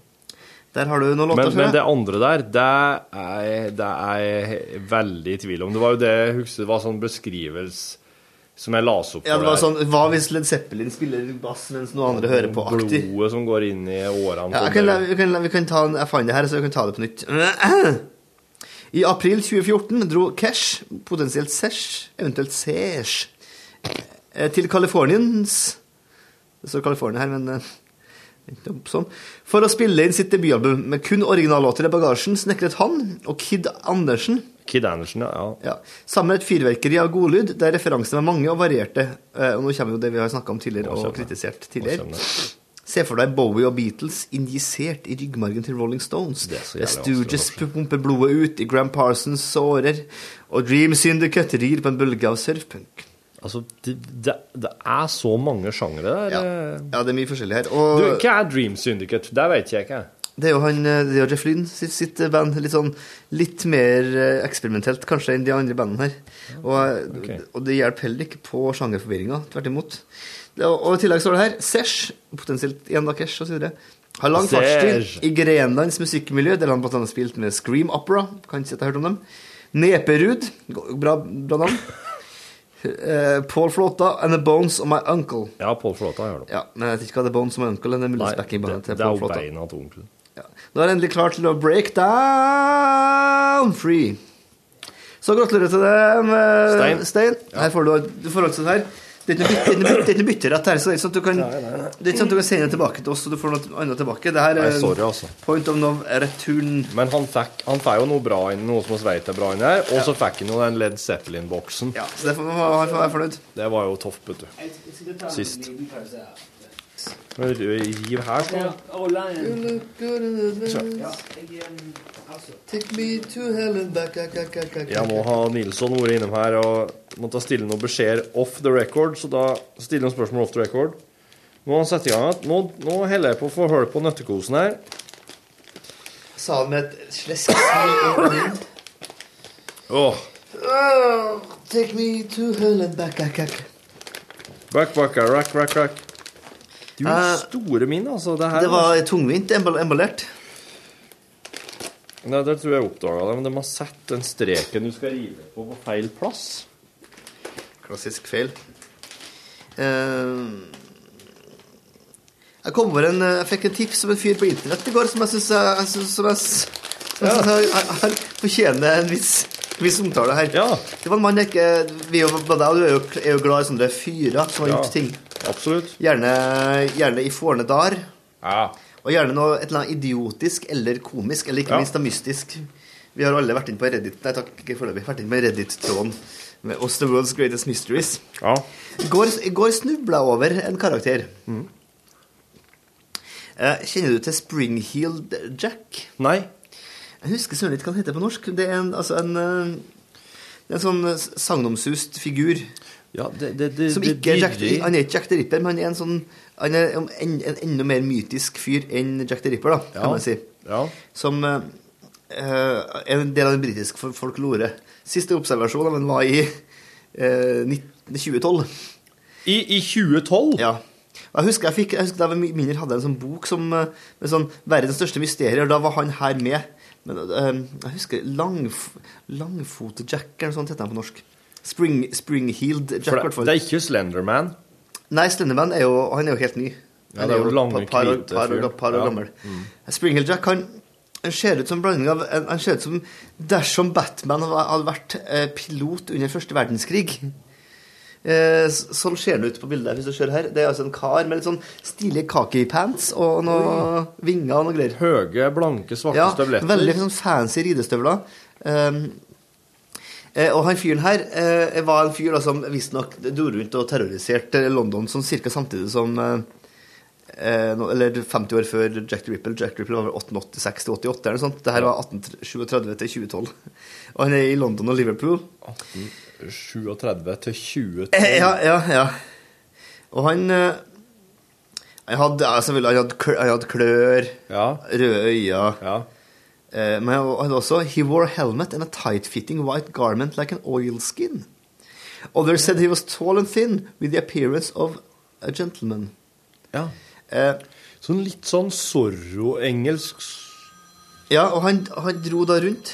Der har du noen
Men,
låter
men det
fra.
andre der, det er, jeg- det er jeg veldig i tvil om. Det var jo det jeg husker, det var sånn beskrivelse som jeg las opp
Ja, det var
her.
sånn Hva hvis Led Zeppelin spiller bass mens noen andre hører på? Aktig.
Blodet som går inn i årene.
Ja,
på
jeg kan, la-
det.
vi, kan, la- vi kan ta en- Jeg fant det her, så vi kan ta det på nytt. I april 2014 dro Cash, potensielt Sesh, eventuelt Sesh, eh, til Californiens Det står California her, men eh, vent opp, sånn. For å spille inn sitt debutalbum med kun originallåter i bagasjen, snekret han og Kid Andersen
Kid Andersen, ja.
ja. Sammen med et fyrverkeri av godlyd, der referansene var mange og varierte. Eh, Og nå kommer jo det vi har snakka om tidligere og kritisert tidligere. Se for deg Bowie og Beatles injisert i ryggmargen til Rolling Stones. The
jævlig
Stooges pumper blodet ut i Gram Parsons sårer, og Dream Syndicate rir på en bølge av surfpunk.
Altså, det, det, det er så mange sjangere der.
Ja. ja, det er mye forskjellig her. Og
Du, hva er Dream Syndicate? Det vet jeg ikke.
det er jo han, eh, det er jo Jeff Lynne sitt, sitt eh, band. Litt sånn litt mer eh, eksperimentelt kanskje enn de andre bandene her. Og, eh,
ok.
og det hjelper heller ikke på sjangerforvirringa. Tvert imot. Det, og, og i tillegg står det her Sesh, potensielt igjen da Kesh osv. Har lang
Sesh.
fartstid i Grenlands musikkmiljø, der han blant annet spilt med Scream Opera. Kan ikke si at jeg har hørt om dem. Neperud, bra, bra navn. Eh, Paul Flåta and The Bones of My Uncle.
Ja, Paul Flåta har jeg hørt om.
Ja, men jeg vet ikke hva The Bones of My Uncle er. Det er muligens backingbandet
det,
til
det er
Paul
jo
Flåta.
beina til onkelen.
Nå er det endelig klart til å break down free. Så gratulerer til deg, med-
Stein.
Stein. Her får du, du får altså den her. Det er ikke noe bytte- det er ikke noe bytte- det er ikke noe bytterett her, så det er ikke sånn at du kan, det er ikke sånn at du kan sende den tilbake til oss, og du får noe annet tilbake. Det her er
Nei, sorry, altså.
point of no return.
Men han fikk, han fikk jo noe bra inn, noe som vi vet er bra inn her, og så fikk han jo den Led Zeppelin-boksen.
Ja, så det får man han får være fornøyd.
Det var jo toft, vet du. Sist. Men Riv her, så.
Mm.
Take me to hell and back, back, back, back, back.
Ja, nå har Nilsson vært innom her og måtte stille noen beskjeder off the record, så da stiller han spørsmål off the record. Nå har han satt i gang at nå, nå holder jeg på å få hull på nøttekosen her.
Sa han med et slesk smil.
Åh,
Oh, take me to hell and back, back, back.
back, back, rack, rack, rack. Du
Eh,
store min, altså. Det, her
Det var tungvint embal- emballert.
Nei, der tror jeg jeg oppdaga det, men de har satt den streken du skal rive på, på feil plass.
Klassisk feil. Eh, jeg kom over en, eh, jeg fikk en tips om en fyr på internett i går som jeg syns jeg, synes- som jeg, s- som jeg, synes jeg, jeg, jeg fortjener en viss, viss omtale her. Det var en mann jeg ikke vi er jo, både jeg og Du er jo, er jo glad i sånne fyrer som har
Ja,
gjort ting.
Absolutt.
Gjerne, gjerne i forne dager.
Ja.
Og gjerne noe et eller annet idiotisk eller komisk, eller ikke
Ja.
minst da mystisk. Vi har alle vært inne på Reddit Nei takk, ikke foreløpig. Vært inne på Reddit-tråden med Us the World's Greatest Mysteries.
Ja.
I går, i går snubla jeg over en karakter. Eh, Kjenner du til Springheeled Jack?
Nei.
Jeg husker søren litt hva han heter på norsk. Det er en, altså en, eh, det er en sånn eh, sagnomsust figur. som
det
ikke er Jack,
dirrer.
han er ikke Jack the Ripper, men han er en sånn han er en, en, en enda mer mytisk fyr enn Jack the Ripper, da, kan
Ja,
man si. Som eh, eh, er en del av den britiske fol- folklore. Siste observasjon av den var i eh, 19 2012.
I, 2012?
Ja. Og Jeg husker, jeg, fikk, jeg husker da jeg var mi- mindre hadde jeg en sånn bok som, eh, med sånn 'Verdens største mysterier', og da var han her med. Men eh, jeg husker langf, Langfote-Jack eller noe sånt heter han på norsk. Spring, Springheeled Jack,
For
i hvert
det,
fall.
det er ikke Slenderman.
Nei, Slenderman er jo, han er jo helt ny.
Ja,
Han
det er jo lange,
par, par, år-
hvite
par,
fyren.
år- par år
Ja.
gammel.
Mm.
Springhill Jack han, han ser ut som en blanding av Han han ser ut som dersom Batman hadde hadde vært eh, pilot under første verdenskrig. Eh, s- sånn ser han ut på bildet hvis du ser her. Det er altså en kar med litt sånn stilige khaki-pants og noe vinger og noe greier.
Høye, blanke, svarte
ja,
støvletter.
Veldig sånn fancy ridestøvler. Um, Eh, Og han fyren her eh, var en fyr da, som visstnok dro rundt og terroriserte London sånn cirka samtidig som eh, eh, nå- Eller 50 år før Jack the Ripple. Jack the Ripple var vel 1886 til 88 eller noe sånt. Det her var 1837 til 2012. Og han er i London og Liverpool.
37 til 2012.
Eh, Ja, ja, ja. Og han eh, Han hadde, ja, selvfølgelig, han hadde, klør, han hadde klør røde øyne. Eh, men han hadde også He wore a helmet and a tight-fitting white garment like an oilskin. Others said he was tall and thin with the appearance of a gentleman.
Ja.
sånn litt sånn Zorro-engelsk Ja, og han, han dro da rundt.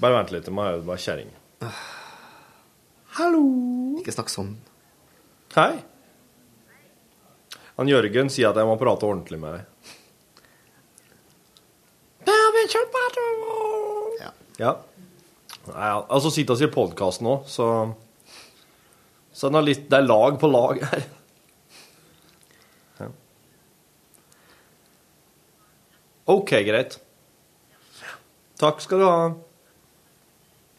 Bare vent litt, jeg må øve meg kjerring.
Hallo! Ikke snakk sånn.
Hei. Han Jørgen sier at jeg må prate ordentlig med deg. Ja. Nei, ja. Altså, sitter oss i podkasten nå, så Så den har litt, det er lag på lag her. Ja. OK, greit. Takk skal du ha.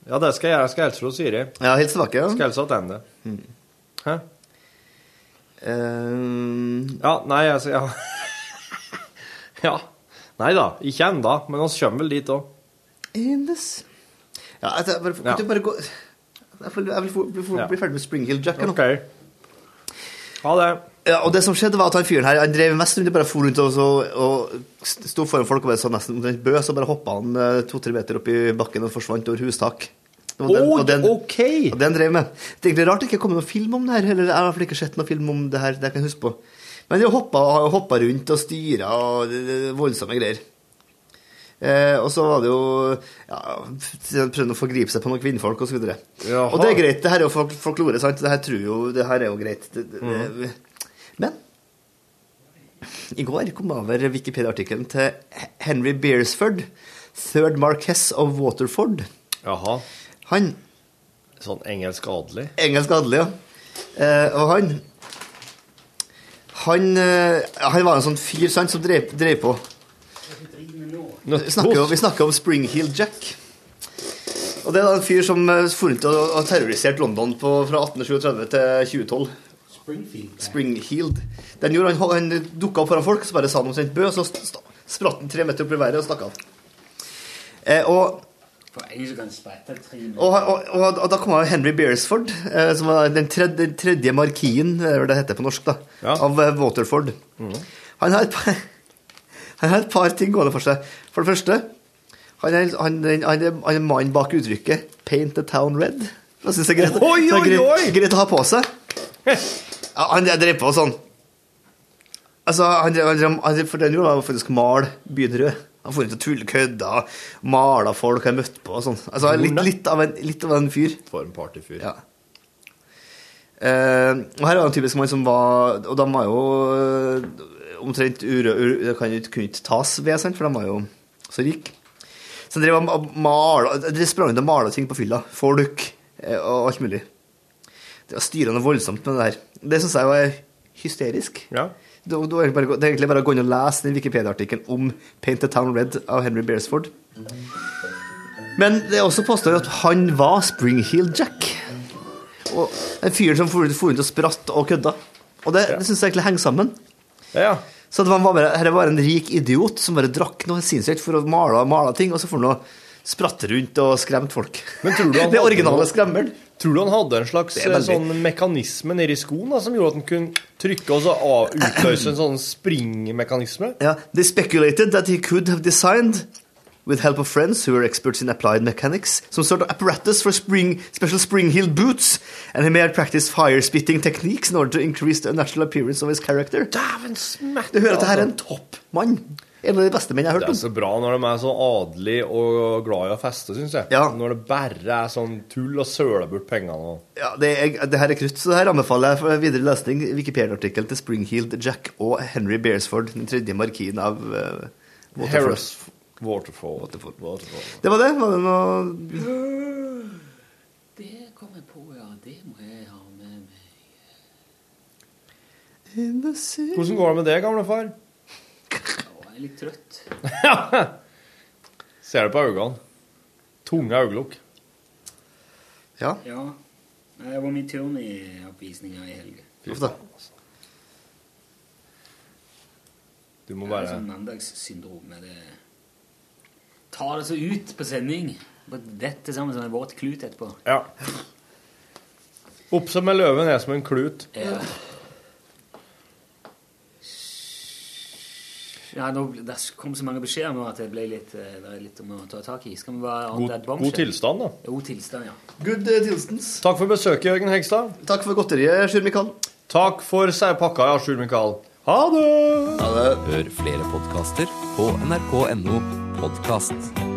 Ja, det skal jeg. Jeg skal helse fra Siri.
Ja, hils tilbake. Ja.
Skal helse tilbake.
Mm.
Hæ?
Eh, ja,
nei, altså Ja. ja. Nei da, ikke ennå, men vi kommer vel dit òg.
In this Ja, altså, bare, kan
Ja.
du bare gå Jeg vil, jeg vil få- bli, få-
Ja.
bli ferdig med Springhill Jack her nå.
Ok. Ha det.
Ja, og det som skjedde var at han fyren her Han drev mest rundt og bare for rundt og, så, og st- sto foran folk og bare så nesten omtrent bø, så bare hoppa han eh, to-tre meter opp i bakken og forsvant over hustak. Det var
Oi,
og den, og den drev med. Det er egentlig rart det ikke kom noen film om det her, eller jeg har i hvert fall ikke sett noen film om det her, det jeg kan huske på. Men de hoppa, hoppa rundt og styra og det, det, det, voldsomme greier. Eh, og så var det jo ja, prøvde å forgripe seg på noen kvinnfolk og så videre.
Jaha.
Og det er greit, det her er jo folk- folklore, sant? Det her tror jo, det her er jo greit. Det, det,
Mhm.
Men i går kom jeg over Wikipedia-artikkelen til Henry Beresford, third marquess of Waterford.
Jaha.
Han
Sånn engelsk adelig?
Engelsk adelig, ja. Eh, og han han, eh, han var en sånn fyr sant, som drev, drev på. Vi snakker, jo- vi snakker om Springheel Jack. Og Det er da en fyr som eh, for rundt og, og terroriserte London på, fra 1837 til 2012. Springfield. Den gjorde han, han dukka opp foran folk, så bare sa han omtrent bø, så st- st- spratt han tre meter opp i været og stakk av. Eh, og
For jeg er så ganske spett.
og, og, og, og da kom jo Henry Beresford, eh, som var den tredje, den tredje markien, det er hva det heter på norsk, da, av eh, Waterford.
Mm.
Han har, et par, han har et par ting gående for seg. For det første, han er, han, han, han er, han er mannen bak uttrykket 'Paint the town red'. Det synes jeg er greit,
Oi,
så er
oi,
greit,
oi!
greit å ha på seg. Ja, han drev på sånn Altså, han, drev- han, drev- han, drev- for den gjorde han faktisk mal byen rød. Han for ut og tulle kødda, mala folk han møtte på og sånn. Altså, litt, litt, av en, litt av en fyr.
For en partyfyr.
Ja. Eh, og her er en typisk mann som var Og de var jo eh, omtrent urø... Ur, det kan jo ikke- kunne ikke tas ved, sant, for de var jo så rike. Så han drev og ma- mala De sprang rundt og mala ting på fylla. Folk eh, og alt mulig. Det var styrende voldsomt med det her. Det syns jeg jo er hysterisk. Det, det er egentlig bare, å gå- det er egentlig bare å gå inn og lese den Wikipedia-artikkelen om Paint the Town Red av Henry Beresford. Men det er også påstått at han var Springheel Jack. Og den fyren som for for rundt og spratt og kødda. Og det, det syns jeg egentlig henger sammen. Så det var bare, her var en rik idiot som bare drakk noe sinnssykt for å male, male ting, og så får han å spratte rundt og skremte folk.
Men tror du han
det
hadde
originale
noe-
skremmeren.
Tror du han hadde en slags
Det er veldig-
eh, sånn mekanisme nedi skoen da, som gjorde at han kunne trykke og så av- utløse en sånn springmekanisme?
Ja, they speculated that he could have designed, with help of friends who were experts in applied mechanics, some sort of apparatus for spring, special spring heel boots, and he may have practiced fire-spitting techniques in order to increase the natural appearance of his character. Du hører at dette er en toppmann. En av de beste menn jeg har hørt
Altså, Det er så
om.
bra når de er så adelige og glad i å feste, syns jeg. Når det bare er sånn tull og søler bort pengene. og-
Ja, det, er, det her er krutt, så det her anbefaler jeg for videre lesning. Wikipedia-artikkel til Springheeled Jack og Henry Beresford, den tredje markien av eh, Waterford.
Harris Waterfall. Waterfall.
Det var det. Var det noe
Det kom jeg på, ja. Det må jeg ha med meg.
Hvordan går det med deg, gamle far?
Jeg er litt trøtt.
Ser det på øynene. Tunge øyelokk.
Ja.
Ja. Nei, Det var min turn i oppvisninga i helga.
Fy faen, altså. Du må
Det er
bare
sånn mandagssyndrom. Det tar det så ut på sending. Bare Dette sammen som en våt klut etterpå.
Ja. Opp som en løve, ned som en klut.
Ja. Ja, nå, ble- det kom så mange beskjeder nå at det ble litt, eh, det er litt om å ta tak i. Skal vi bare
God- god tilstand, da.
God tilstand, ja.
Good eh, tilstans.
Takk for besøket, Jørgen Hegstad.
Takk for godteriet, Sjur Mikael.
Takk for pakka, ja, Sjur Mikael. Ha det!
Hør flere podkaster på nrk.no podkast.